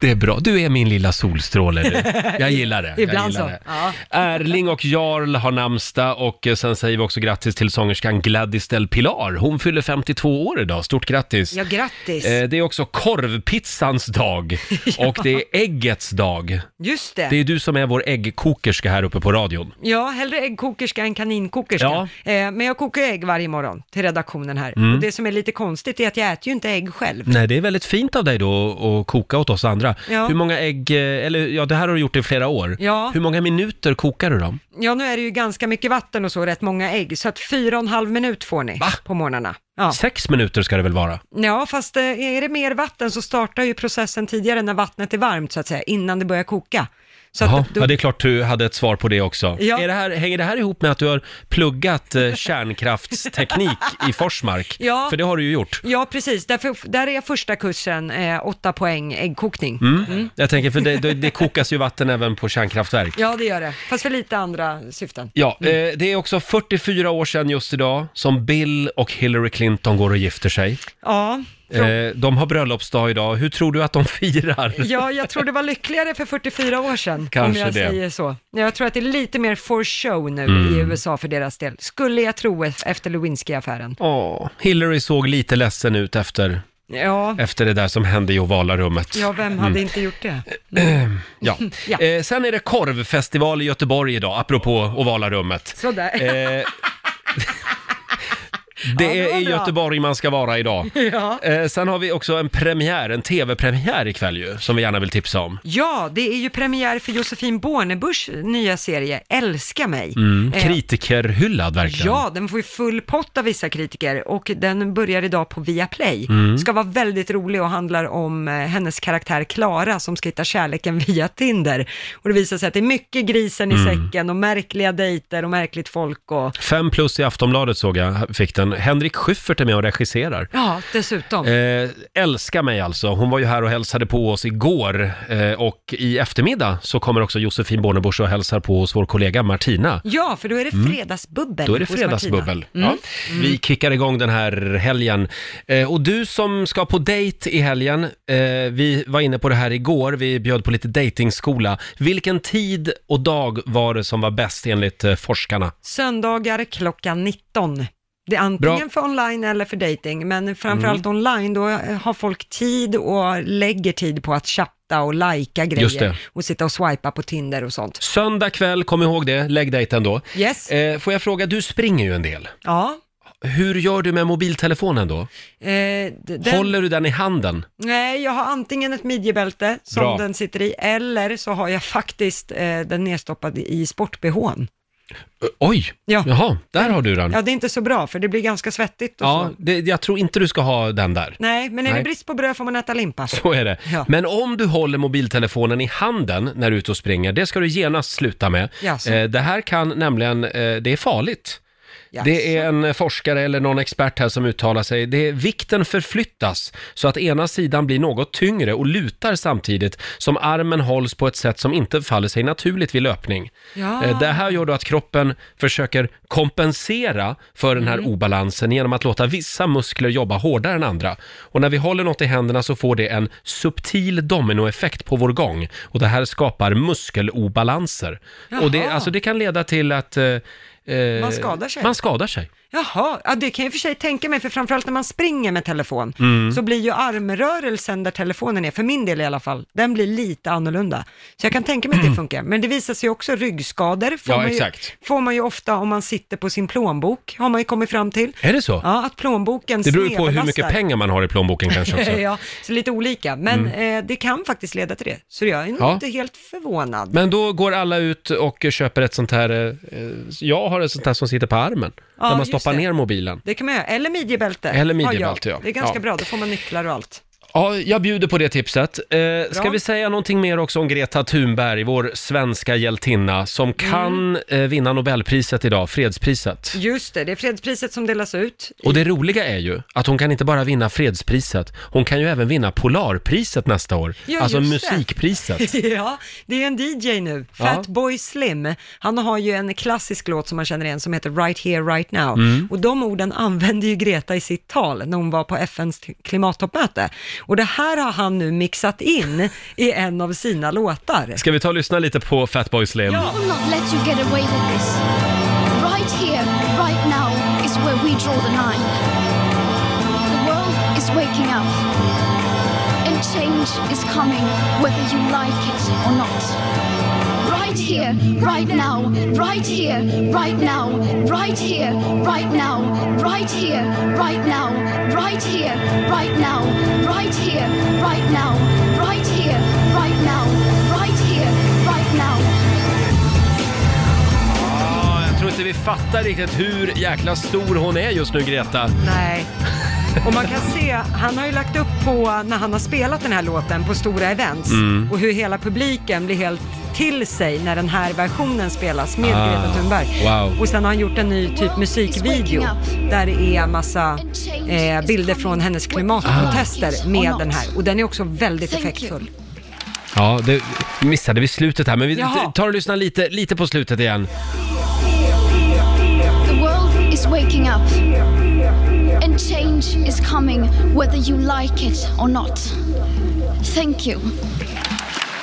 Det är bra. Du är min lilla solstråle du. Jag gillar det. jag Ibland gillar så. Det. Ja. Erling och Jarl har namnsdag och eh, sen säger vi också grattis till sångerskan Gladys Del Pilar. Hon fyller 52 år idag. Stort grattis! Ja, grattis. Eh, Det är också korvpizzans dag och det är äggets dag. Just det. Det är du som är vår äggkokerska här uppe på radion. Ja, hellre äggkokerska än kaninkokerska. Eh, men jag kokar ägg varje morgon till redaktionen här. Mm. Och det som är lite konstigt är att jag äter ju inte ägg själv. Nej, det är väldigt fint av dig då att koka åt oss andra andra. Ja. Hur många ägg, eh, eller ja, det här har du gjort i flera år. Ja. Hur många minuter kokar du dem? Ja, nu är det ju ganska mycket vatten och så, rätt många ägg, så att fyra och en halv minut får ni på morgnarna. Ja. Sex minuter ska det väl vara? Ja, fast eh, är det mer vatten så startar ju processen tidigare när vattnet är varmt, så att säga, innan det börjar koka. Så Jaha, att då, ja, det är klart du hade ett svar på det också. Ja. Är det här, hänger det här ihop med att du har pluggat eh, kärnkraftsteknik i Forsmark? Ja. För det har du ju gjort. ja, precis. Därför, där är första kursen eh, åtta poäng äggkokning. Mm. Mm. Jag tänker, för det, det, det kokas ju vatten även på kärnkraftverk. Ja, Mm. det gör det. Fast för lite andra syften. Ja, eh, det är också 44 år sedan just idag som Bill och Hillary Clinton går och gifter sig. Ja. Eh, de har bröllopsdag idag. Hur tror du att de firar? Ja, jag tror det var lyckligare för 44 år sedan, Kanske om jag det. säger så. Jag tror att det är lite mer for show nu Mm. i USA för deras del, skulle jag tro e- efter Lewinsky-affären. Åh, Hillary såg lite ledsen ut efter, Ja, efter det där som hände i ovala rummet. ja, vem hade inte gjort det? Mm. ja. Ja. Eh, sen är det korvfestival i Göteborg idag, apropå ovala rummet. Sådär. Eh, Det det är var i bra. Göteborg man ska vara idag. Ja. Eh, sen har vi också en premiär, en tv-premiär ikväll ju, som vi gärna vill tipsa om. Ja, det är ju premiär för Josefin Bornebuschs nya serie Älska mig. Mm. Eh, Kritikerhyllad verkligen. Ja, den får ju full pott av vissa kritiker och den börjar idag på Viaplay. Mm. Ska vara väldigt rolig och handlar om eh, hennes karaktär Klara som ska hitta kärleken via Tinder. Och det visar sig att det är mycket grisen i Mm. säcken och märkliga dejter och märkligt folk och Fem plus i Aftonbladet såg jag, fick den. Henrik Schyffert är med och regisserar. ja, dessutom. Eh, älska mig alltså. Hon var ju här och hälsade på oss igår eh, och i eftermiddag så kommer också Josefin Bornebusch och hälsar på hos vår kollega Martina. Ja, för då är det Mm. fredagsbubbel Då är det hos fredagsbubbel. Martina. Ja. Mm. Vi kickar igång den här helgen. Eh, och du som ska på dejt i helgen, eh, vi var inne på det här igår, vi bjöd på lite dejtingskola. Vilken tid och dag var det som var bäst enligt eh, forskarna? Söndagar klockan 19. Det är antingen Bra. för online eller för dating, men framförallt Mm. online, då eh, har folk tid och lägger tid på att chatta och lajka grejer Just det. och sitta och swipa på Tinder och sånt. Söndag kväll, kom ihåg det, lägg dejten då. Yes. Eh, får jag fråga, du springer ju en del. Ja. Hur gör du med mobiltelefonen då? Eh, d- den, Håller du den i handen? Nej, jag har antingen ett midjebälte som Bra. den sitter i, eller så har jag faktiskt eh, den nedstoppad i sportbehån. Ö, Oj! Ja. Jaha, där har du den. Ja, Ja, det är inte så bra, för det blir ganska svettigt och så. det, jag tror inte du ska ha den där. Nej, men är Nej. det brist på bröd får man äta limpa. Så är det. Ja. Men om du håller mobiltelefonen i handen när du är ute och springer, det ska du genast sluta med. Jaså. Eh, Det här kan nämligen, eh, det är farligt. Det är en forskare eller någon expert här som uttalar sig. Det är, vikten förflyttas så att ena sidan blir något tyngre och lutar samtidigt som armen hålls på ett sätt som inte faller sig naturligt vid löpning. Ja. Eh, Det här gör då att kroppen försöker kompensera för den här Mm. obalansen genom att låta vissa muskler jobba hårdare än andra. Och när vi håller något i händerna så får det en subtil dominoeffekt på vår gång och det här skapar muskelobalanser. Och det, Jaha. alltså, det kan leda till att eh, eh, Man skadar sig. Man skadar sig. Jaha, ja, det kan jag i och för sig tänka mig, för framförallt när man springer med telefon, Mm. så blir ju armrörelsen där telefonen är, för min del i alla fall, den blir lite annorlunda. Så jag kan tänka mig att det funkar, men det visar sig också ryggskador, får, Ja, man, ju, exakt. får man ju ofta om man sitter på sin plånbok, har man ju kommit fram till. Är det så? Ja, att plånboken Det beror ju på hur mycket snedbelastar. pengar man har i plånboken kanske också. ja, så lite olika, men Mm. eh, det kan faktiskt leda till det, så jag är nog Ja. inte helt förvånad. Men då går alla ut och köper ett sånt här, eh, eh, jag har ett sånt här som sitter på armen, Ja, där man just stoppar det. ner mobilen. Det kan man göra, eller midjebälte. Eller har jag. midjebälte, ja. Det är ganska Ja. bra, då får man nycklar och allt. Ja, jag bjuder på det tipset. Eh, ska Bra. vi säga någonting mer också om Greta Thunberg, vår svenska hjältinna, som Mm. kan eh, vinna Nobelpriset idag, fredspriset. Just det, det är fredspriset som delas ut. Och det roliga är ju att hon kan inte bara vinna fredspriset, hon kan ju även vinna Polarpriset nästa år, Ja, alltså just det. musikpriset. ja, det är en DJ nu, Ja. Fatboy Slim. Han har ju en klassisk låt som man känner igen som heter Right Here Right Now. Mm. Och de orden använde ju Greta i sitt tal när hon var på FNs klimattoppmöte. Och det här har han nu mixat in i en av sina låtar. Ska vi ta och lyssna lite på Fatboy Slim? I will not let you get away with this. Right here, right now, is where we draw the line. The world is waking up. And change is coming, whether you like it or not. Right right here, right now, right here, right now, right here, right now, right here, right now, right here, right now, right here, right now, right here, right now, right here, right now. Ja, jag tror inte vi fattar riktigt hur jäkla stor hon är just nu, Greta. Nej. Och man kan se, han har ju lagt upp på, när han har spelat den här låten, på stora events Mm. och hur hela publiken blir helt till sig när den här versionen spelas med Ah, Greta Thunberg. wow. Och sen har han gjort en ny typ musikvideo där det är massa eh, bilder från hennes klimatprotester med den här. Och den är också väldigt effektfull. Ja, det missade vi slutet här, men vi Jaha. tar och lyssnar lite, lite på slutet igen. The world is waking up. And change is coming whether you like it or not. Thank you.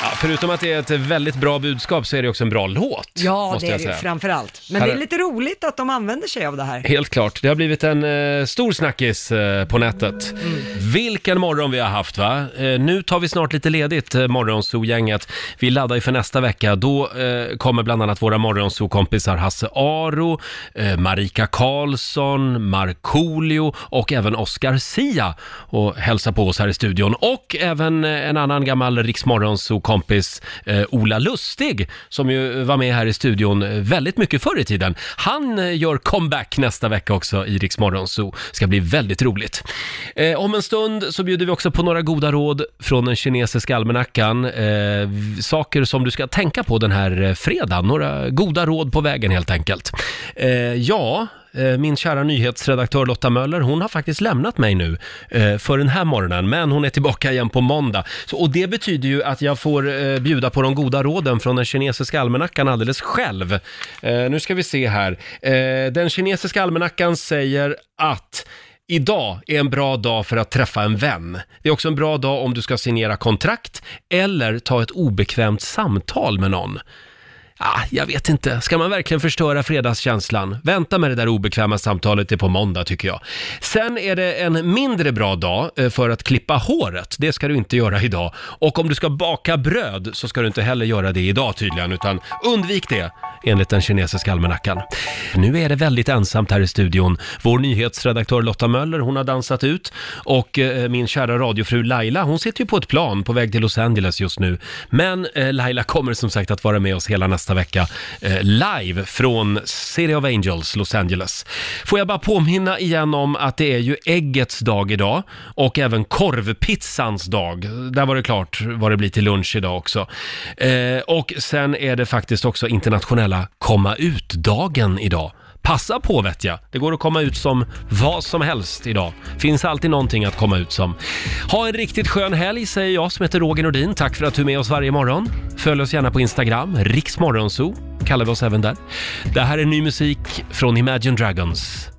Ja, förutom att det är ett väldigt bra budskap så är det också en bra låt. Ja, måste det är jag det ju säga. framförallt. Men Här det är är- lite roligt att de använder sig av det här. Helt klart. Det har blivit en eh, stor snackis eh, på nätet. Vilken morgon vi har haft va? Eh, nu tar vi snart lite ledigt, eh, Morgonzoo-gänget. Vi laddar ju för nästa vecka. Då eh, kommer bland annat våra Morgonzoo-kompisar Hasse Aro, eh, Marika Karlsson, Markoolio och även Oscar Sia och hälsa på oss här i studion. Och även eh, en annan gammal Rix Morgonzoo-kompis, eh, Ola Lustig, som ju var med här i studion eh, väldigt mycket förr i tiden. Han eh, gör comeback nästa vecka också i Rix Morgonzoo. Ska bli väldigt roligt. Eh, om en stund så bjuder vi också på några goda råd från den kinesiska almanackan. Eh, v- saker som du ska tänka på den här eh, fredagen. Några goda råd på vägen helt enkelt. Eh, ja, eh, min kära nyhetsredaktör Lotta Möller, hon har faktiskt lämnat mig nu eh, för den här morgonen, men hon är tillbaka igen på måndag. Så, och det betyder ju att jag får eh, bjuda på de goda råden från den kinesiska almanackan alldeles själv. Eh, nu ska vi se här. Eh, den kinesiska almanackan säger att Idag är en bra dag för att träffa en vän. Det är också en bra dag om du ska signera kontrakt eller ta ett obekvämt samtal med någon. Ah, jag vet inte. Ska man verkligen förstöra fredagskänslan? Vänta med det där obekväma samtalet till på måndag tycker jag. Sen är det en mindre bra dag eh, för att klippa håret. Det ska du inte göra idag. Och om du ska baka bröd så ska du inte heller göra det idag tydligen, utan undvik det enligt den kinesiska almanackan. Nu är det väldigt ensamt här i studion. Vår nyhetsredaktör Lotta Möller, hon har dansat ut och eh, min kära radiofru Laila, hon sitter ju på ett plan på väg till Los Angeles just nu. Men eh, Laila kommer som sagt att vara med oss hela nästa vecka eh, live från City of Angels, Los Angeles. Får jag bara påminna igen om att det är ju äggets dag idag och även korvpizzans dag. Där var det klart vad det blir till lunch idag också. Eh, och sen är det faktiskt också internationella komma ut-dagen idag. Passa på vet jag. Det går att komma ut som vad som helst idag. Finns alltid någonting att komma ut som. Ha en riktigt skön helg säger jag som heter Roger Nordin. Tack för att du är med oss varje morgon. Följ oss gärna på Instagram, riksmorgonzoo kallar vi oss även där. Det här är ny musik från Imagine Dragons.